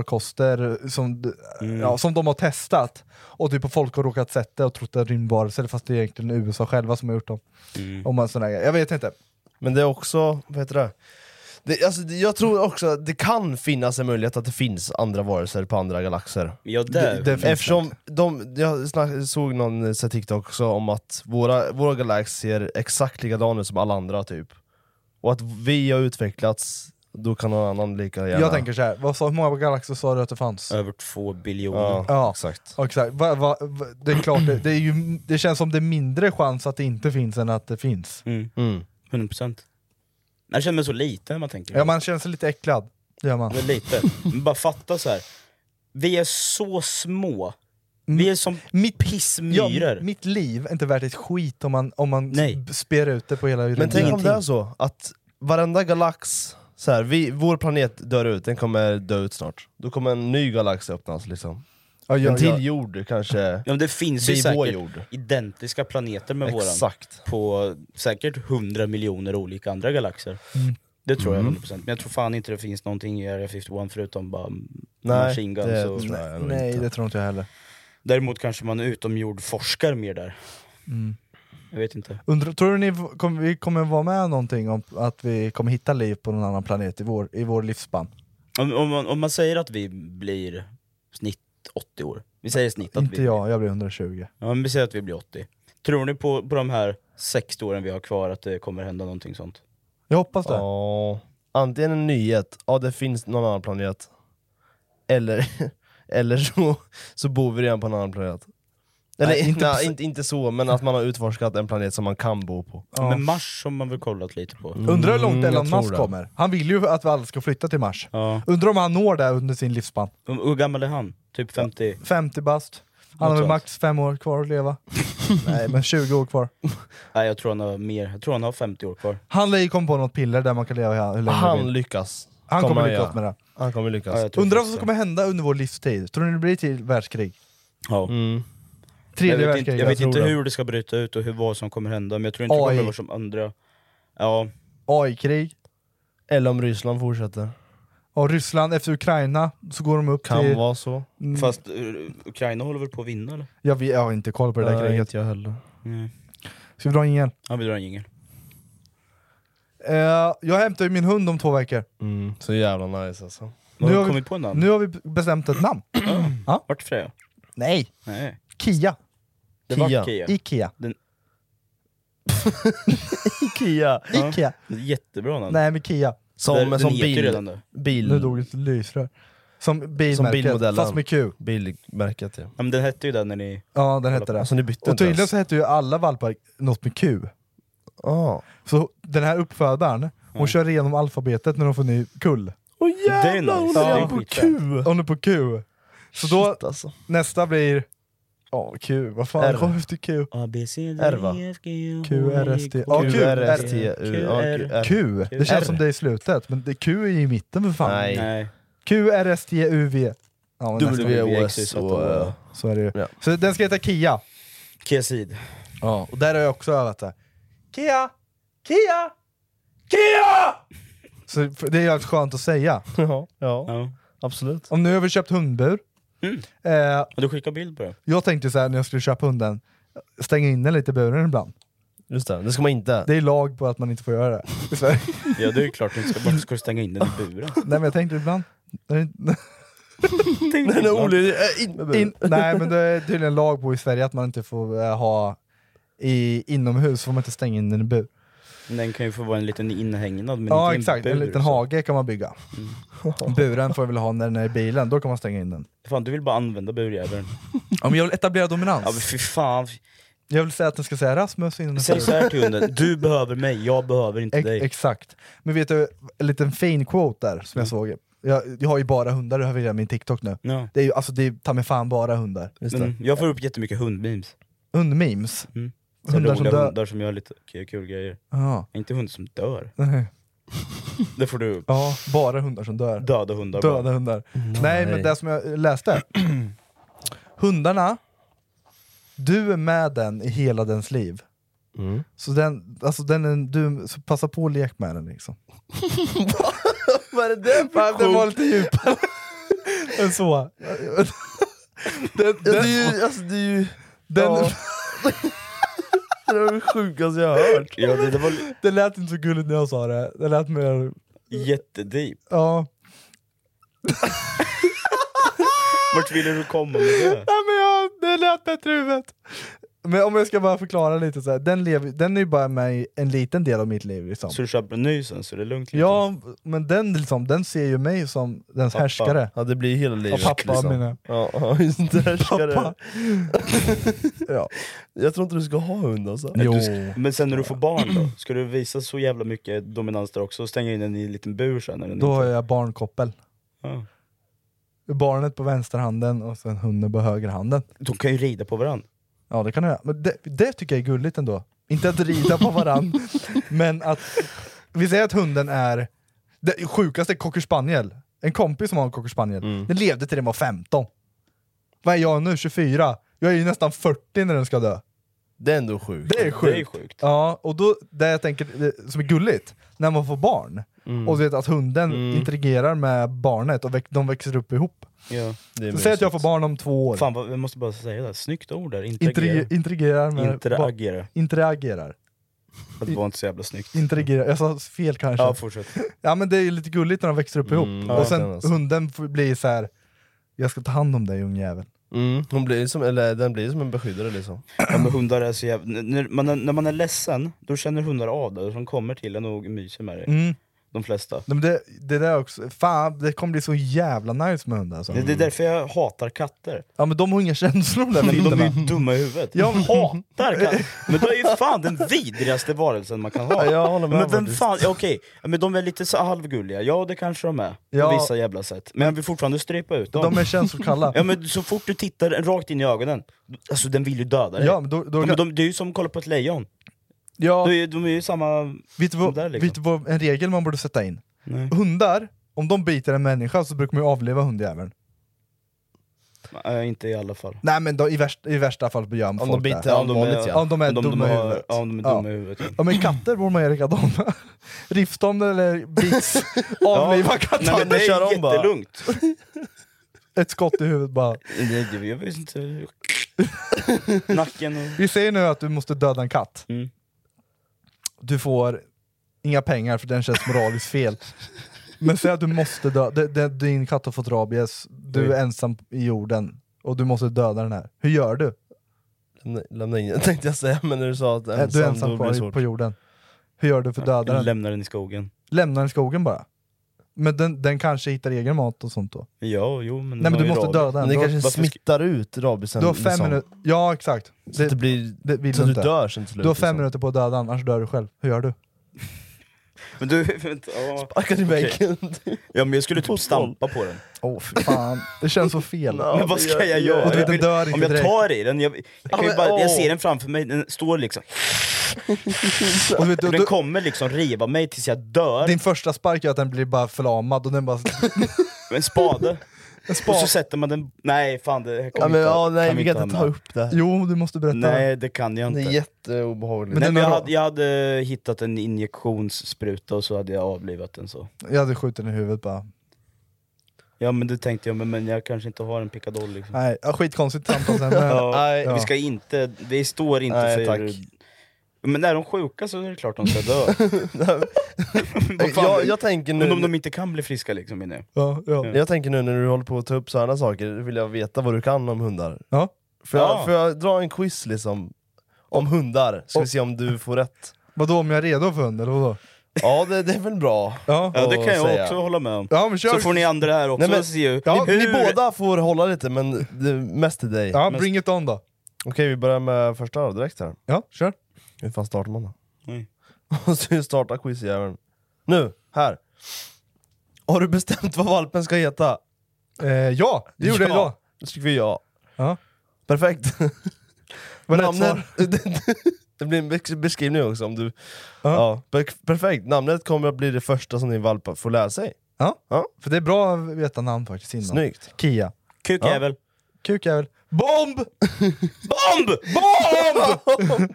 rymdfarkoster som, d- Mm. ja, som de har testat. Och typ folk har råkat sett det och trott att det är rymdvarelser, fast det är egentligen USA själva som har gjort dem. Mm. Om man sån där, grej. jag vet inte. Men det är också, vad heter det? det alltså, det- jag tror också att det kan finnas en möjlighet att det finns andra varelser på andra galaxer. Ja, där. Det- det finns Eftersom de, jag snack, såg någon eh, så här TikTok också om att våra, våra galaxer är exakt likadana som alla andra typ. Och att vi har utvecklats, då kan någon annan lika gärna... Jag tänker så här, vad sa, hur många galaxer sa du att det fanns? Över två biljoner. ja, Ja. exakt. Ja, Exakt. Va, va, va, det är klart, det, det, är ju, det känns som det är mindre chans att det inte finns än att det finns. Mm. Mm. 100%. Jag känner mig så liten när man tänker Ja, man känner sig lite äcklad. Det gör man. Men lite. Men bara fatta så här. Vi är så små. Mm. Vi är som Mitt, pissmyror. Ja, mitt liv är inte värt ett skit om man, om man Nej. sp- spär ut det på hela jorden. Men tänk om det är så, att varenda galax, så här, vi, vår planet dör ut, den kommer dö ut snart. Då kommer en ny galax öppnas liksom. ja, ja, en till ja. jord kanske. Ja, men det finns ju Det är vår säkert jord. identiska planeter med våran. Exakt. På säkert 100 miljoner olika andra galaxer. Mm. Det tror jag 100%. Men jag tror fan inte det finns någonting i Area 51 förutom bara Nej, machine guns. det och... tror jag nog Nej, inte. det tror inte jag heller. Däremot kanske man utomjordforskar mer där. Mm. Jag vet inte. Undrar, tror du ni v- kom, vi kommer vara med någonting om att vi kommer hitta liv på någon annan planet i vår, i vår livsspann? Om, om, man, om man säger att vi blir snitt 80 år. Vi säger snitt att Inte vi jag, jag blir 120. Ja, men vi säger att vi blir 80. Tror ni på, på de här 60 åren vi har kvar att det kommer hända någonting sånt? Jag hoppas det. Ja. antingen en nyhet, ja det finns någon annan planet, eller, eller så, så bor vi redan på en annan planet. Eller Nej, inte inte, på- inte, inte så, men att man har utforskat en planet som man kan bo på. Men Mars har man väl kollat lite på. Undrar hur mm, långt Elon Musk kommer? Han vill ju att vi alla ska flytta till Mars. Undrar om han når det under sin livsspann. Hur gammal är han? Typ 50? 50 bast. Han har väl max fem år kvar att leva. Nej men 20 år kvar. Nej jag tror han har mer, jag tror han har 50 år kvar. Han lär ju komma på något piller där man kan leva hur länge Han man vill. lyckas. Han Kommer kommer han göra. lyckas med det. Han kommer lyckas. Ja, jag tror Undrar vad faktiskt som kommer hända under vår livstid? Tror ni det blir till världskrig? Ja. Mm. Tredje Mm. jag vet inte, världskriget. jag vet tror inte det. hur det ska bryta ut och hur, vad som kommer hända, men jag tror inte det AI. kommer vara som andra. Ja. AI-krig. Eller om Ryssland fortsätter. Och Ryssland efter Ukraina, så går de upp Kan till... vara så. Mm. Fast eh, Ukraina håller väl på att vinna eller? Jag, vet- jag har inte koll på det där Nej, kriget. inte jag heller. Nej. Ska vi dra en igen? Ja vi drar en jingel. Eh, jag hämtar ju min hund om två veckor. Mm, så jävla nice alltså. Har du vi, kommit på en namn? nu har vi bestämt ett namn. ja. Vart Freja? Nej, Nej. Kia. Det var Kia. Ikea. Den, Kia. Ikea. jättebra namn. Nej men Kia. Som, Den- den som heter ju bil, redan det. bil, Nu dog ett lysrör. Som som bilmärket, bilmodellen. fast med Q. Bilmärket ja. Ja, men den hette ju den när ni... Ja den hette det. Alltså ni bytte Och inte tydligen ens. så hette ju alla valpar något med Q. Ah. Så den här uppfödaren, hon kör igenom alfabetet när hon får ny kull. Åh Det är nice. jävlar, hon Det är är redan på skitfett. Q! Hon är på Q. Så då, Shit alltså. nästa blir... Ja, Q, vad fan R. kommer efter Q? A, B, C, D, R, va? E, F, G, Q, H, R, I, S, T. K, Ja, L, Q, M, R, S, N, T, U, ja, Q, R. R. Q! Det känns R. som det är i slutet, men det, Q är ju i mitten för fan. Nej. Nej. Q, R, S, T, U, V. Ja, men nästa. W, W, X, S Y, och... eh, Så är det ju. Ja. Så den ska heta Kia. Kesid. Ja. Och där har jag också övat det. Kia! Kia! Kia! Så det är jävligt skönt att säga. Ja, ja, Ja. absolut. Om nu har vi köpt hundbur. Eh, Och du skickar bild på det? jag tänkte så här när jag skulle köpa hunden, stänga in den lite i buren ibland. Just det, det ska man inte. Det är lag på att man inte får göra det i Sverige. Ja det är ju klart, du ska, varför ska du stänga in den i buren? Nej men jag tänkte ibland. Det är inte- Den är olydig, äh, in med buren. In, nej men det är tydligen lag på i Sverige att man inte får eh, ha i, inomhus, får man inte stänga in den i bur. Den kan ju få vara en liten inhägnad men Ja inte exakt, bur, en liten liksom. Mm. så. hage kan man bygga. Buren får jag väl ha när den är i bilen, då kan man stänga in den. Fan du vill bara använda burjäveln. Ja, men jag vill etablera dominans. Ja men fy fan. Jag vill säga att den ska säga Rasmus innan den Säg så säger- här till hunden, du behöver mig, jag behöver inte Ex- dig. Exakt. Men vet du, en liten fin quote där som jag såg. Jag, jag har ju bara hundar över hela min TikTok nu. Ja. Det är ju alltså, det är ta mig fan bara hundar. Men jag får upp jättemycket hundmemes. Hundmemes. Mm. Så Hundar som roliga dör. hundar som gör lite kul, kul grejer. Ja. Inte hundar som dör. Nej. Det får du upp. ja, bara hundar som dör. Döda hundar bara. Döda hundar. Nej, men det som jag läste. Hundarna, du är med den i hela dens liv. Så den, alltså den är, du, så passa på att lek med den liksom. Vad är det där Fan, den var lite djupare än så. Den, Ja, det är den, ju... Alltså, det är ju den, ja. det var det sjukaste jag har hört. Ja det, det var det lät inte så gulligt när jag sa det. Det lät mer... jättedeep. Ja. Vart ville du komma med det? Nej, men jag, det lät bättre i huvudet. Men om jag ska bara förklara lite så här. Den, lever, den är ju bara med i en liten del av mitt liv. Liksom. Så du köper en ny sen så det är lugnt? liksom? Ja, men den, liksom, den ser ju mig som dens Pappa. härskare. Ja det blir ju hela Ja, livet. pappa liksom. menar jag. Ja, ja, just det. Där ska Pappa. det. Ja. Jag tror inte du ska ha hund alltså. Jo. Du ska- liksom? Men sen när du får barn då? Ska du visa så jävla mycket dominans där också och stänga in den i en liten bur sen? Eller Då har inte? jag barnkoppel. Ja. Barnet på vänsterhanden och sen hunden på högerhanden. De kan ju rida på varandra. Ja det kan jag göra. Men det, det tycker jag är gulligt ändå. Inte att rida på varann, men att... Vi säger att hunden är... Det sjukaste är cocker spaniel. En kompis som har en cocker spaniel, den levde till den var 15. Vad är jag nu? 24? Jag är ju nästan 40 när den ska dö. Det är ändå sjukt. Det är sjukt. Det är sjukt. Ja, och då, det jag tänker det som är gulligt, när man får barn, och du vet att hunden interagerar med barnet och väx, de växer upp ihop. Ja. Det är Så säg att jag får mysigt. barn om två år. Fan, vad, jag måste bara säga det. här. Snyggt ord där. Interagera. Interagerar. Interagerar med barn. Interagera. Interagerar. Det var inte så jävla snyggt. Interagerar. Jag sa fel kanske. Ja, Mm, Ja, fortsätt. men det är ju lite gulligt när de växer upp ihop. ja, och sen verkligen alltså. hunden får bli så här. jag ska ta hand om dig ungjävel. Mm. Hon blir som, eller den blir som en beskyddare liksom. Ja, men hundar är så jävla... När man, när man är ledsen, då känner hundar av det. och De kommer till en och myser med dig. Mm. de flesta. Nej, men det, det där också, fan det kommer bli så jävla nice med hundar alltså. Det, det är därför jag hatar katter. Ja men de har inga känslor de där Men de är vilderna. ju dumma i huvudet. Ja, Jag men- hatar katter. Men de är ju fan den vidrigaste varelsen man kan ha. Ja, jag håller med men vem faktiskt. fan, ja, okej, Ja, men de är lite så halvgulliga. Ja det kanske de är, Ja. på vissa jävla sätt. Men jag vill fortfarande strypa ut dem. De är känslokalla. Ja men så fort du tittar den rakt in i ögonen, alltså den vill ju döda dig. Ja, men då- då- de, de, det är ju som att kolla på ett lejon. Ja. De, är- de är ju samma... Vet du, vad, där liksom. vet du vad en regel man borde sätta in? Hundar, om de biter en människa så brukar man ju avleva hundjäveln. Nej, inte i alla fall. Nej men då, i, värsta, i värsta fall gör man Om de folk biter det. Om de är- allvarligt, ja. Om de är Om de- de dumma i har- huvudet. ja, om de är dumma i huvudet, ja. Ja men katter borde man göra likadana. Rift om den eller bits, avliva katten. Nej, men det är jättelugnt. Ett skott i huvudet bara. Nej, det- jag vet inte. Nacken och... Vi säger nu att du måste döda en katt. Mm. Du får inga pengar för den känns moraliskt fel. Men säg att du måste döda, d- d- din katt har fått rabies, du Oj. är ensam i jorden och du måste döda den här. Hur gör du? Lämna- Lämna in den tänkte jag säga, men när du sa att ensam, Äh, du är då ensam blir det på, svårt. på jorden. Hur gör du för att döda den? Lämnar den i skogen. Lämna den i skogen bara. Men den, den kanske hittar egen mat och sånt då. Ja, jo men... Nej men du måste döda Men den. det Du har- kanske varför- smittar ut rabisen. Du har fem liksom. minuter, ja exakt. Så att det blir- vill så att du inte. dör sen till slut, Du har fem liksom. minuter på att döda den, annars dör du själv. Hur gör du? Men du, vänta. ja. Sparkar Okej. i väggen. Ja men jag skulle typ stampa på den. Åh oh, fan, det känns så fel. men vad ska jag göra? Och du, Jag den vill- dör inte om jag direkt. tar i den, jag, jag, kan ju men, bara, jag åh. ser den framför mig, den står liksom... Och du vet, Och du, den du, kommer liksom riva mig tills jag dör. din första spark gör att den blir bara förlamad och den bara... Med en spade. spade. Och så sätter man den... Nej fan det här kan Ja, vi inte men, ha- ja, nej, kan vi kan inte ta ha med. upp det här. Jo, du måste berätta. Nej det kan jag Det inte. är jätteobehagligt. Nej, den men jag, har- hade, jag hade hittat en injektionsspruta och så hade jag avlivat den så. Jag hade skjutit den i huvudet bara. Ja men det tänkte jag, men, men jag kanske inte har en pickadoll liksom. Nej, ja, skitkonstigt samtalsämne. Ja, ja. Vi ska inte, vi står inte för... Nej, tack. Men när de är sjuka så är det klart de ska dö. Vad fan, jag, jag, tänker Men om nu, de inte kan bli friska liksom menar jag. Ja, ja. jag tänker nu när du håller på att ta upp sådana saker, vill jag veta vad du kan om hundar. Ja. Får jag, Ja. får jag dra en quiz liksom? Om hundar, ska vi se om du får rätt. Vadå om jag är redo för hund eller vadå? Ja det, det är väl bra. Ja. Ja det att kan jag säga. också hålla med om. Ja men kör! Så får ni andra här också Nej, men- se hur... Ja, hur... Ni båda får hålla lite, men det, mest till dig. Ja, bring it on då. Okej, vi börjar med första då, direkt här. Ja, kör. Hur fan startar man då? Oj. Måste starta quizjäveln. Nu, här. Har du bestämt vad valpen ska heta? Eh, ja, det gjorde jag idag. Då skriver jag. Ja. Perfekt. Var det rätt svar? det blir en besk- beskrivning också om du... Ja. per- Perfekt, namnet kommer att bli det första som din valp får lära sig. Ja. Ja. För det är bra att veta namn faktiskt innan. Snyggt. Kia. Kukjävel. Kukjävel. Bomb! Bomb!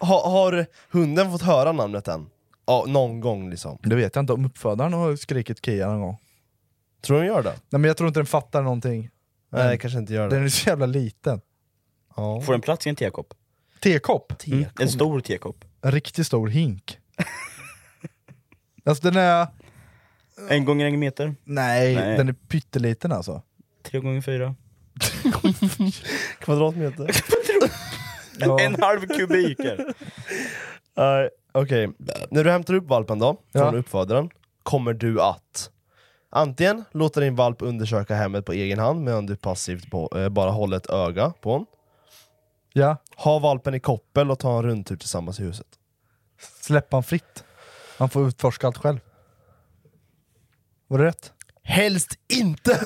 Ha, har hunden fått höra namnet än? Ja, någon gång liksom. Det vet jag inte om uppfödaren har skrikit Kia någon gång. Tror du den gör det? Nej men jag tror inte den fattar någonting. Nej, kanske inte gör det. Den är så jävla liten. Ja. Får en plats i en tekopp? Tekopp. Mm. En stor tekopp. En riktigt stor hink. alltså den är... En gånger en meter, Nej, Nej. den är pytteliten alltså. tre gånger fyra. Kvadratmeter. Ja. En halv kubiker. Nej, Okej, när du hämtar upp valpen då, från Ja. uppfödaren, kommer du att antingen låta din valp undersöka hemmet på egen hand medan du passivt på, eh, bara håller ett öga på honom. ja, Ha valpen i koppel och ta en rundtur tillsammans i huset. släpp han fritt. Han får utforska allt själv. Var det rätt? Helst inte!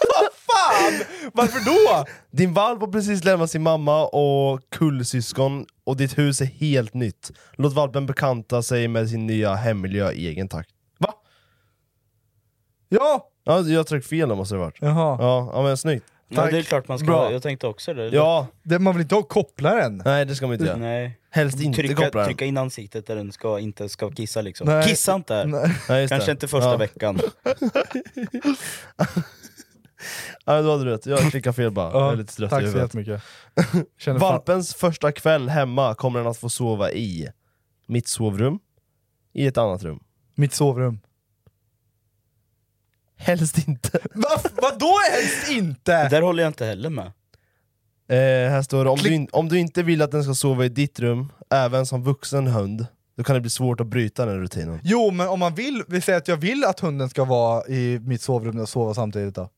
Vad fan! Varför då? Din valp har precis lämnat sin mamma och kullsyskon och ditt hus är helt nytt. Låt valpen bekanta sig med sin nya hemmiljö i egen takt. Va? Ja! Ja, jag tryckte fel då måste det varit. Jaha. Ja, ja men snyggt. Ja, Tack. det är klart man ska Bra. ha. Jag tänkte också det. Ja, Det, man vill inte ha kopplaren. nej det ska man inte göra. Nej. Helst inte koppla Trycka, den. trycka in ansiktet där den ska, inte ska kissa liksom. Nej. Kissa inte här. Nej. Nej, just Kanske det. inte första ja. veckan. Ja, då hade du rätt. Jag klickade fel bara. jag är lite trött i tack så huvudet. jättemycket. Känner fan, Valpens första kväll hemma kommer den att få sova i mitt sovrum, i ett annat rum. mitt sovrum. Helst inte. Va, vadå helst inte? Där håller jag inte heller med. Eh, här står det, om du, in, om du inte vill att den ska sova i ditt rum, även som vuxen hund, då kan det bli svårt att bryta den rutinen. Jo, men om man vill, vi säger att jag vill att hunden ska vara i mitt sovrum och sova samtidigt då.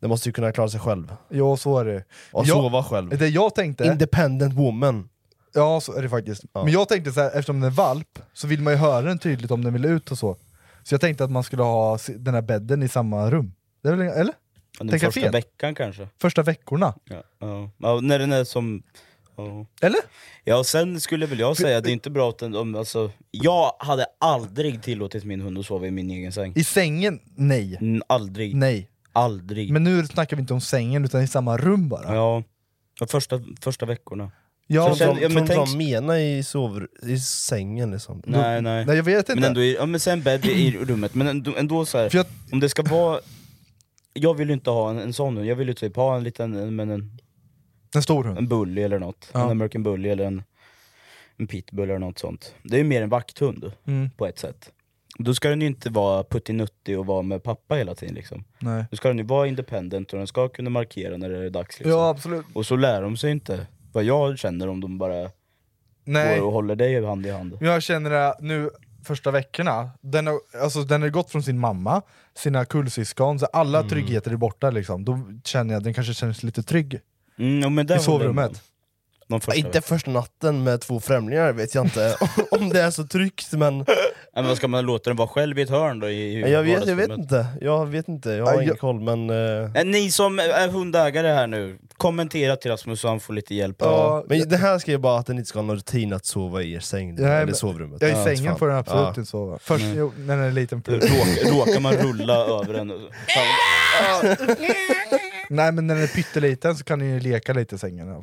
Den måste ju kunna klara sig själv. Jo, så är det Och Jag- sova själv. Det jag tänkte... Independent woman. Ja, så är det faktiskt. Men jag tänkte så här, eftersom den är valp så vill man ju höra den tydligt om den vill ut och så. Så jag tänkte att man skulle ha si- den här bädden i samma rum. Det är väl, eller? Den Tänker jag första fel? veckan kanske. första veckorna. Ja, ja. ja, när den är som... Ja. Eller? Ja, och sen skulle väl jag säga att det är inte bra att den... Om, alltså, jag hade aldrig tillåtit min hund att sova i min egen säng. I sängen? Nej. aldrig. Nej. Aldrig. Men nu snackar vi inte om sängen utan i samma rum bara. Ja, de första, första veckorna. Ja, tror Sen- de, ja, tror men de tänk- de menar i, sovr- i sängen liksom? Nej, nej. Nej, jag vet Men inte. ändå, i- ja, men sen bädd i rummet, men ändå, ändå så här, För jag- om det ska vara... Jag vill ju inte ha en, en sån hund, jag vill ju typ ha en liten, en- men en, En stor hund. en bully eller något. Ja. En American bully eller en, en pitbull eller något sånt. Det är ju mer en vakthund Mm. på ett sätt. Då ska den ju inte vara puttinuttig och vara med pappa hela tiden liksom. Nej. Då ska den ju vara independent och den ska kunna markera när det är dags liksom. Ja, absolut. Och så lär de sig inte vad jag känner om de bara Nej. går och håller dig hand i hand. Men Jag känner det nu första veckorna, den har, alltså, den har gått från sin mamma, sina kullsyskon, så alla tryggheter är borta liksom. Då känner jag att den kanske känns lite trygg. Mm, ja, men där I håller de sovrummet. med. De första Inte första natten med två främlingar vet jag inte om det är så tryggt men Nej, men ska man låta den vara själv i ett hörn då? I, i jag vet, jag vet vardagsrummet? inte, jag vet inte, jag har Ja, ingen jag- koll men... eh, Eh, Ni som är hundägare här nu, kommentera till Rasmus så han får lite hjälp. Ja, men det här ska ju bara att den inte ska ha någon rutin att sova i er säng, Nej, eller men- sovrummet. Ja, I Ja, sängen fan. får den absolut Ja. inte sova. Först jo, när den är liten. Råkar, råkar man rulla över den? Fan, Nej men när den är pytteliten så kan den ju leka lite i sängen.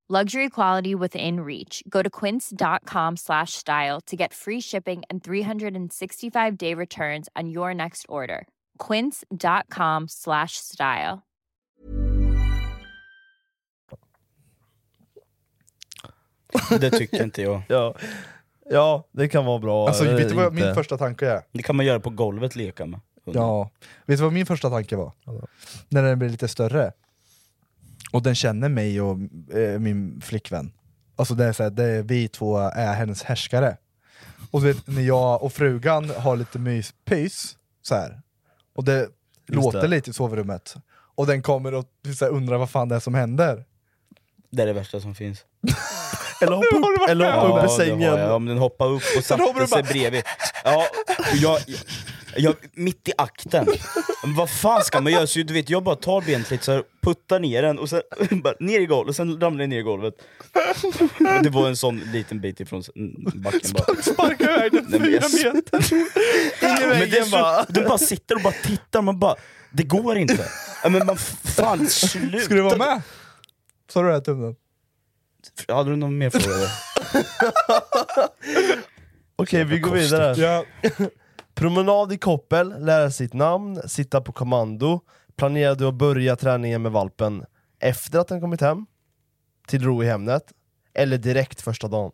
Luxury quality within reach. Go to quince.com slash style to get free shipping and 365 day returns on your next order. Quince.com slash style. Det tycker inte jag. Ja. ja, det kan vara bra. Alltså, eller vet du vad inte. min första tanke är? Det kan man göra på golvet, leka med. hunden. Ja. Vet du vad min första tanke var? När den blir lite större. Och den känner mig och eh, min flickvän. Alltså det är så här, det är, vi två är hennes härskare. Och du vet, när jag och frugan har lite myspys, så här. och det låter det. lite i sovrummet. Och den kommer och så här, undrar vad fan det är som händer. Det är det värsta som finns. Eller hoppa upp, eller hoppa upp i det har sängen. jag. Om den hoppar upp och hoppar satte du sig bara- bredvid. Ja, och jag, jag, mitt i akten. Men Vad fan ska man göra? Så du vet, jag bara tar benet lite så här, puttar ner den och sen bara ner i golvet, och sen ramlar den ner i golvet. Och Det var en sån liten bit ifrån backen bara. Sparka iväg den Nej, men jag- meter! Men det är bara. så, du bara sitter och bara tittar, man bara, det går inte. Ja, Men man, fan sluta! Ska du vara med? Sa du det här tummen? Hade du någon mer fråga? eller? Okej, vi går vidare. Ja. Promenad i koppel, lära sitt namn, sitta på kommando. Planerar du att börja träningen med valpen efter att den kommit hem? Till ro i hemmet? Eller direkt första dagen?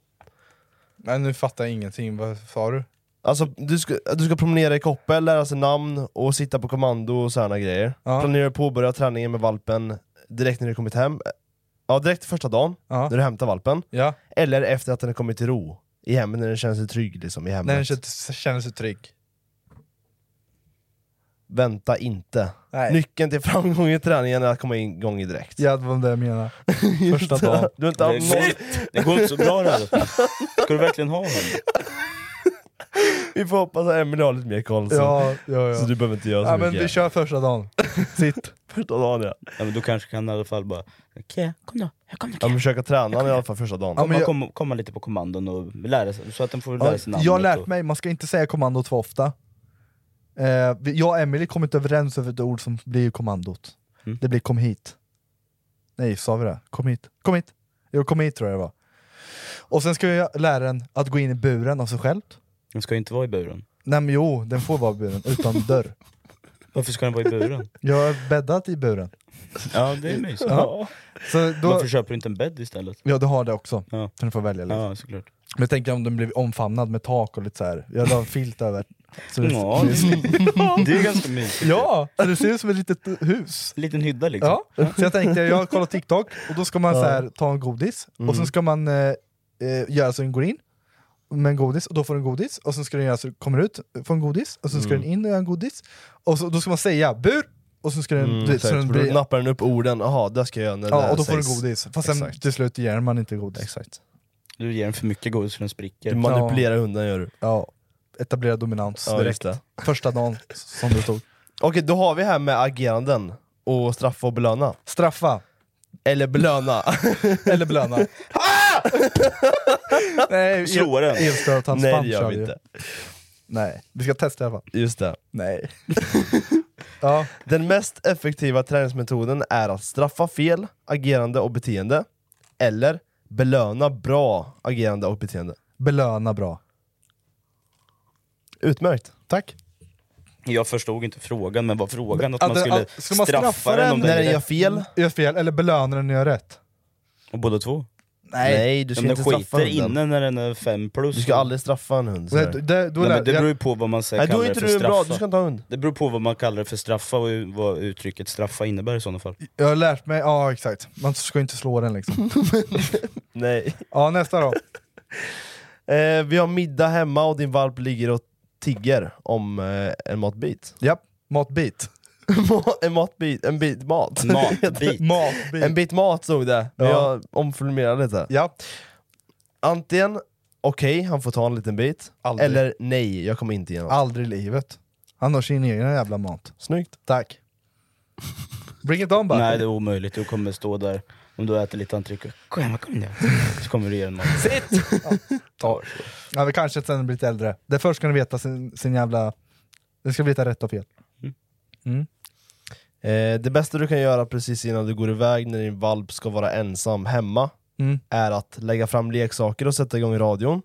Nej nu fattar jag ingenting, vad sa du? Alltså, du ska, du ska promenera i koppel, lära sig namn och sitta på kommando och sådana grejer. Ja. Planerar du att påbörja träningen med valpen direkt när du kommit hem? Ja, direkt första dagen, Ja. när du hämtar valpen. Ja. Eller efter att den har kommit till ro i hemmet, när den känner sig trygg liksom, i hemmet. När den känner- känner sig trygg. Vänta inte. Nej. Nyckeln till framgång i träningen är att komma igång i direkt. Ja, det var det jag menade. Första dagen. Du har inte haft Det går, någon... det går inte så bra det här. Ska du verkligen ha honom? Vi får hoppas att Emelie har lite mer koll, så, Ja, ja, så ja. du behöver inte göra så ja men mycket. vi kör första dagen. Sitt. Första dagen ja. Ja, men då kanske kan i alla fall bara, okej, kom då, jag kommer, ja kom. men försöka träna i alla fall första dagen. Ja, men Man jag- kommer komma lite på kommandon och lära sig, så att den får lära sig namnet. Jag har lärt och- mig, man ska inte säga kommandot för ofta. Eh, vi- jag och Emily kom inte överens över ett ord som blir kommandot. Mm. Det blir kom hit. Nej, sa vi det? Kom hit. Kom hit! Jo, kom hit tror jag det var. Och sen ska jag lära den att gå in i buren av sig själv. Den ska ju inte vara i buren. Nej men jo, den får vara i buren, utan dörr. Varför ska den vara i buren? Jag har bäddat i buren. Ja, det är mysigt. Ja. Så då- Varför köper du inte en bädd istället? Ja du har det också, ja. den får välja liksom. Ja, såklart. Men jag tänker om den blev omfamnad med tak och lite så här. jag la en filt över. Så Ja, det- det är ganska mysigt. Ja, så det ser ut som ett litet hus. Liten hydda liksom. Ja. Så jag tänkte, jag har kollat TikTok, och då ska man så här, ta en godis, Mm. och sen ska man eh, eh, göra så den går in med en godis, och då får den godis, och sen ska den göra så den kommer ut, får en godis, och sen ska Mm. den in och göra en godis, och så, då ska man säga bur, och sen ska den... Mm, du vet, så exakt. den Då nappar den upp orden, jaha det ska jag göra när det ja, här och då får den sägs. godis. Fast sen Exakt. till slut ger man inte godis. Exakt. Du ger den för mycket godis så den spricker. Du manipulerar hunden gör du. Ja, etablerar dominans Ja, direkt. just Första dagen som du tog. Okej, då har vi här med ageranden, och straffa och belöna. Straffa. Eller belöna. Eller belöna. Nej, Slå den. Elstöt, hans Nej, det punch gör vi hade ju- inte. Nej, vi ska testa i alla fall. Just det. Nej. ja. Den mest effektiva träningsmetoden är att straffa fel agerande och beteende, eller belöna bra agerande och beteende. Belöna bra. Utmärkt. Tack. Jag förstod inte frågan, men vad frågan? Att Ja, man den- skulle ja, ska straffa, den om gjorde rätt. Gör fel, eller belöna den när jag gör rätt. Och båda två? Nej. Nej, du ska Men inte den straffa skiter hunden. inne när den är fem plus. Du ska aldrig straffa en hund. Nej, sådär. det- då Nej, lär- men det jag- beror ju på vad man säger Nej, då är kallar inte det för du en bra- straffa. du ska inte ha hund. Det beror på vad man kallar det för straffa och hur- vad uttrycket straffa innebär i sådana fall. Jag har lärt mig, ja exakt. Man ska inte slå den liksom. Nej. Ja, nästa då. Eh, vi har middag hemma och din valp ligger och tigger om eh, en matbit. Japp, matbit. en matbit, en bit mat. Matbit. Matbit. En bit mat stod det, men Ja. jag omformulerade lite. Ja. Antingen okej, han får ta en liten bit, Aldrig. eller nej, jag kommer inte igenom. Aldrig i livet. Han har sin egen jävla mat. Snyggt. Tack. Bring it on bara. Nej det är omöjligt, du kommer stå där om du äter lite entrecote, kom igen, kom igen. Så kommer du ge den mat. Sitt! Ja. Ja, men kanske sen när den blir lite äldre. Det först ska den veta sin, sin jävla... Den ska veta rätt och fel. Eh, det bästa du kan göra precis innan du går iväg när din valp ska vara ensam hemma Mm. är att lägga fram leksaker och sätta igång radion.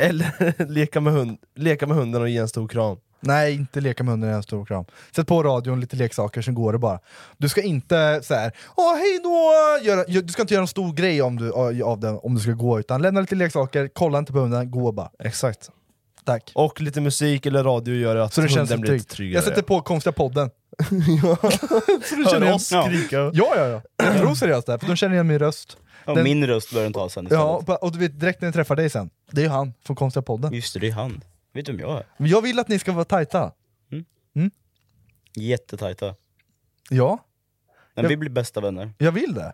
Eller leka, med hund, leka med hunden och ge en stor kram. Nej, inte leka med hunden i en stor kram. Sätt på radion, lite leksaker, sen går det bara. Du ska inte så här, åh hej då! Göra, gö- du ska inte göra en stor grej om du, av den om du ska gå, utan lämna lite leksaker, kolla inte på hunden, gå bara. Exakt. Tack. Och lite musik eller radio gör att Så det hunden känns blir tryggt. lite tryggare. Jag sätter på konstiga podden. så du Hör känner igen- oss skrika. Ja, ja, ja. Jag tror seriöst det, här, för de känner igen min röst. Ja, Den- Min röst bör den ta sen istället. Ja, och bara- och du vet direkt när jag träffar dig sen, det är ju han från konstiga podden. Just det, det är han. Vet du vem jag är? Men jag vill att ni ska vara tajta. Jättetajta. Ja, Men vi blir bästa vänner. jag vill det.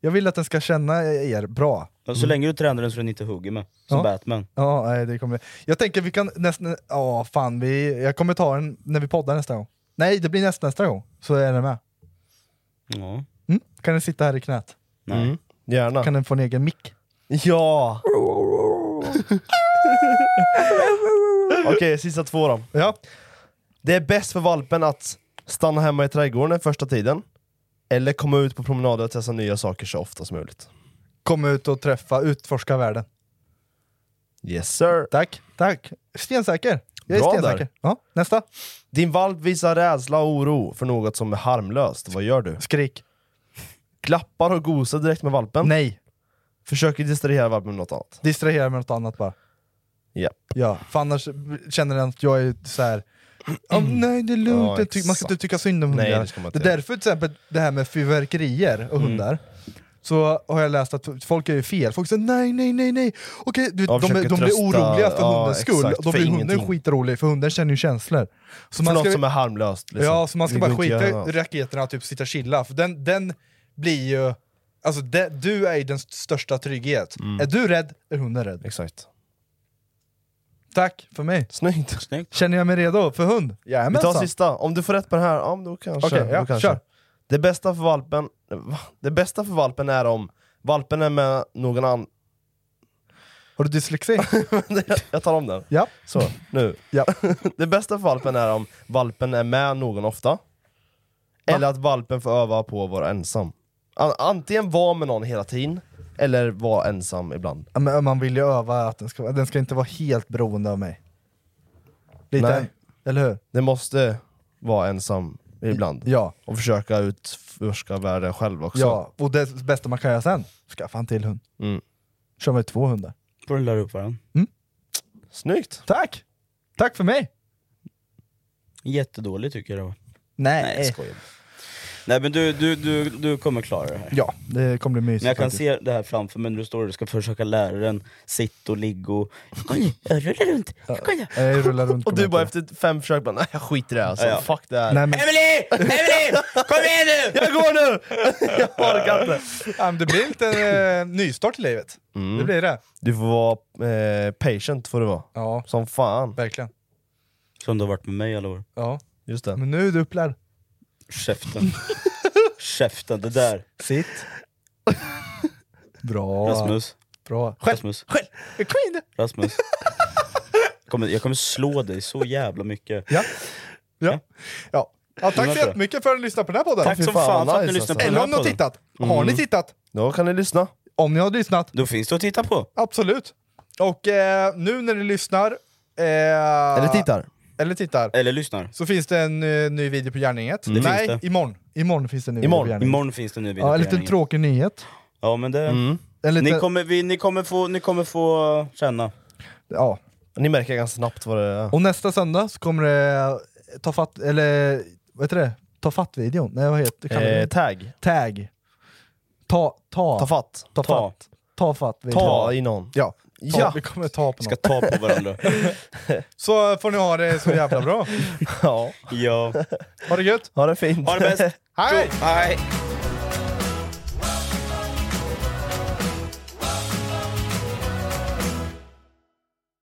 Jag vill att den ska känna er bra. Och Mm. så länge du tränar den så den inte hugger mig. Som Ja. Batman. Ja, nej, det kommer... Jag tänker vi kan nästan... Ja, fan. Vi... Jag kommer ta den när vi poddar nästa gång. Nej, det blir nästa, nästa gång. Så är den med. Ja. Mm? Kan den sitta här i knät? Nej. Mm. Gärna. Kan den få en egen mick? Ja! Okej, sista två då. Ja. Det är bäst för valpen att stanna hemma i trädgården den första tiden, eller komma ut på promenader och testa nya saker så ofta som möjligt. Kom ut och träffa, utforska världen. Yes sir! Tack, tack. Stensäker. Jag är Bra stensäker. där. Ja, nästa. Din valp visar rädsla och oro för något som är harmlöst. Vad gör du? Skrik. Klappar och gosar direkt med valpen? Nej. Försöker distrahera valpen med något annat? Distrahera med något annat bara. Japp. Ja, för annars känner den att jag är så här. "Ja, nej det är lugnt, Ja, Jag ty- man ska inte exakt. tycka synd om hundar. Nej, det ska man inte Mm. är därför till exempel det här med fyrverkerier och hundar, så har jag läst att folk är ju fel, folk säger nej nej nej nej, Okej, du, Ja, vet, de, försöker de blir trösta, oroliga för ja, hundens skull, exakt, och då för blir hunden ingenting. skitrolig för hunden känner ju känslor. Så För man något ska, som är harmlöst. liksom. ja, så man ska Det bara går inte att skita i göra något. raketerna och typ sitta och chilla, för den, den blir ju... Alltså det, du är ju den största trygghet. Mm. Är du rädd är hunden rädd. Exakt. Tack för mig. Snyggt. Snyggt. Känner jag mig redo för hund? Vi tar Jajamensan! sista, om du får rätt på den här, ja men då kanske. Okej, ja, då kanske. kör. Det bästa för valpen, va? det bästa för valpen är om valpen är med någon annan... Har du dyslexi? Jag tar om den. ja. Så, nu. ja. Det bästa för valpen är om valpen är med någon ofta, eller att valpen får öva på att vara ensam. An- antingen vara med någon hela tiden, eller vara ensam ibland. Ja, Men man vill ju öva att den ska, den ska inte vara helt beroende av mig. Lite. Nej. Eller hur? Det måste vara ensam ibland. Ja. Och försöka utforska världen själv också. Ja, och det bästa man kan göra sen, skaffa en till hund. Mm. Kör med två hundar. Får du lära upp varandra. Mm. Snyggt! Tack! Tack för mig! Jättedålig tycker jag det var. Nej, Nej, jag skojar. Nej men du, du, du, du kommer klara det här. Ja, det kommer bli mysigt. Men jag kan faktiskt. se det här framför mig när du står och ska försöka lära den sitt och ligga och... Jag rullar runt, jag kollar. Jag rullar runt. Och du bara efter fem försök bara, nej jag skiter i det här alltså, Ja, ja. fuck det här. Nej, men- Emily! Emily! Kom igen nu! Jag går nu! jag orkar inte. Ja, men det blir lite eh, nystart i livet. Mm. Det blir det. Du får vara eh, patient, får du vara. Ja, Som fan. verkligen. Som du har varit med mig alla år. Ja. Just det. Men nu är du upplärd. Käften. Käften, det där. Sitt. Bra. Rasmus. Bra. Rasmus. Queen! Rasmus. Jag kommer, jag kommer slå dig så jävla mycket. Ja. Ja. Ja. ja Hur tack var så Mm. det? jättemmycket för att ni lyssnade på den här podden. Tack fy som fan, fan för att ni nice, lyssnade på den Eller här om ni har podden. Mm. tittat. Har ni tittat? Då kan ni lyssna. Om ni har lyssnat, Då finns det att titta på. absolut. Och eh, nu när ni lyssnar... Eh, eller, Eller tittar. eller tittar. Eller lyssnar. Så finns det en eh, ny video på Gärninget. Mm, det Nej, finns det. imorgon. Imorgon finns det en ny Imorgon. video på Gärninget. Imorgon finns det en ny video Ja, en på liten Gärningen. tråkig nyhet. Ja men det... En liten, Ni, kommer, vi, ni, kommer få, ni kommer få känna. ja. Ni märker ganska snabbt vad det är. Och nästa söndag så kommer det eh, ta fatt, eller vad heter det? Ta fatt-videon? Nej vad heter det? Eh, tag. Tag. Ta, ta, Ta fatt. ta Ta. fatt. Ta fatt videon. Ta i någon. Ja. Ta, Ja. Vi kommer ta på Ska något. ta på varandra. Så får ni ha det så jävla bra. Ja. ja. Ha det gött. Ha det fint. Ha det bäst! Hej! Hej!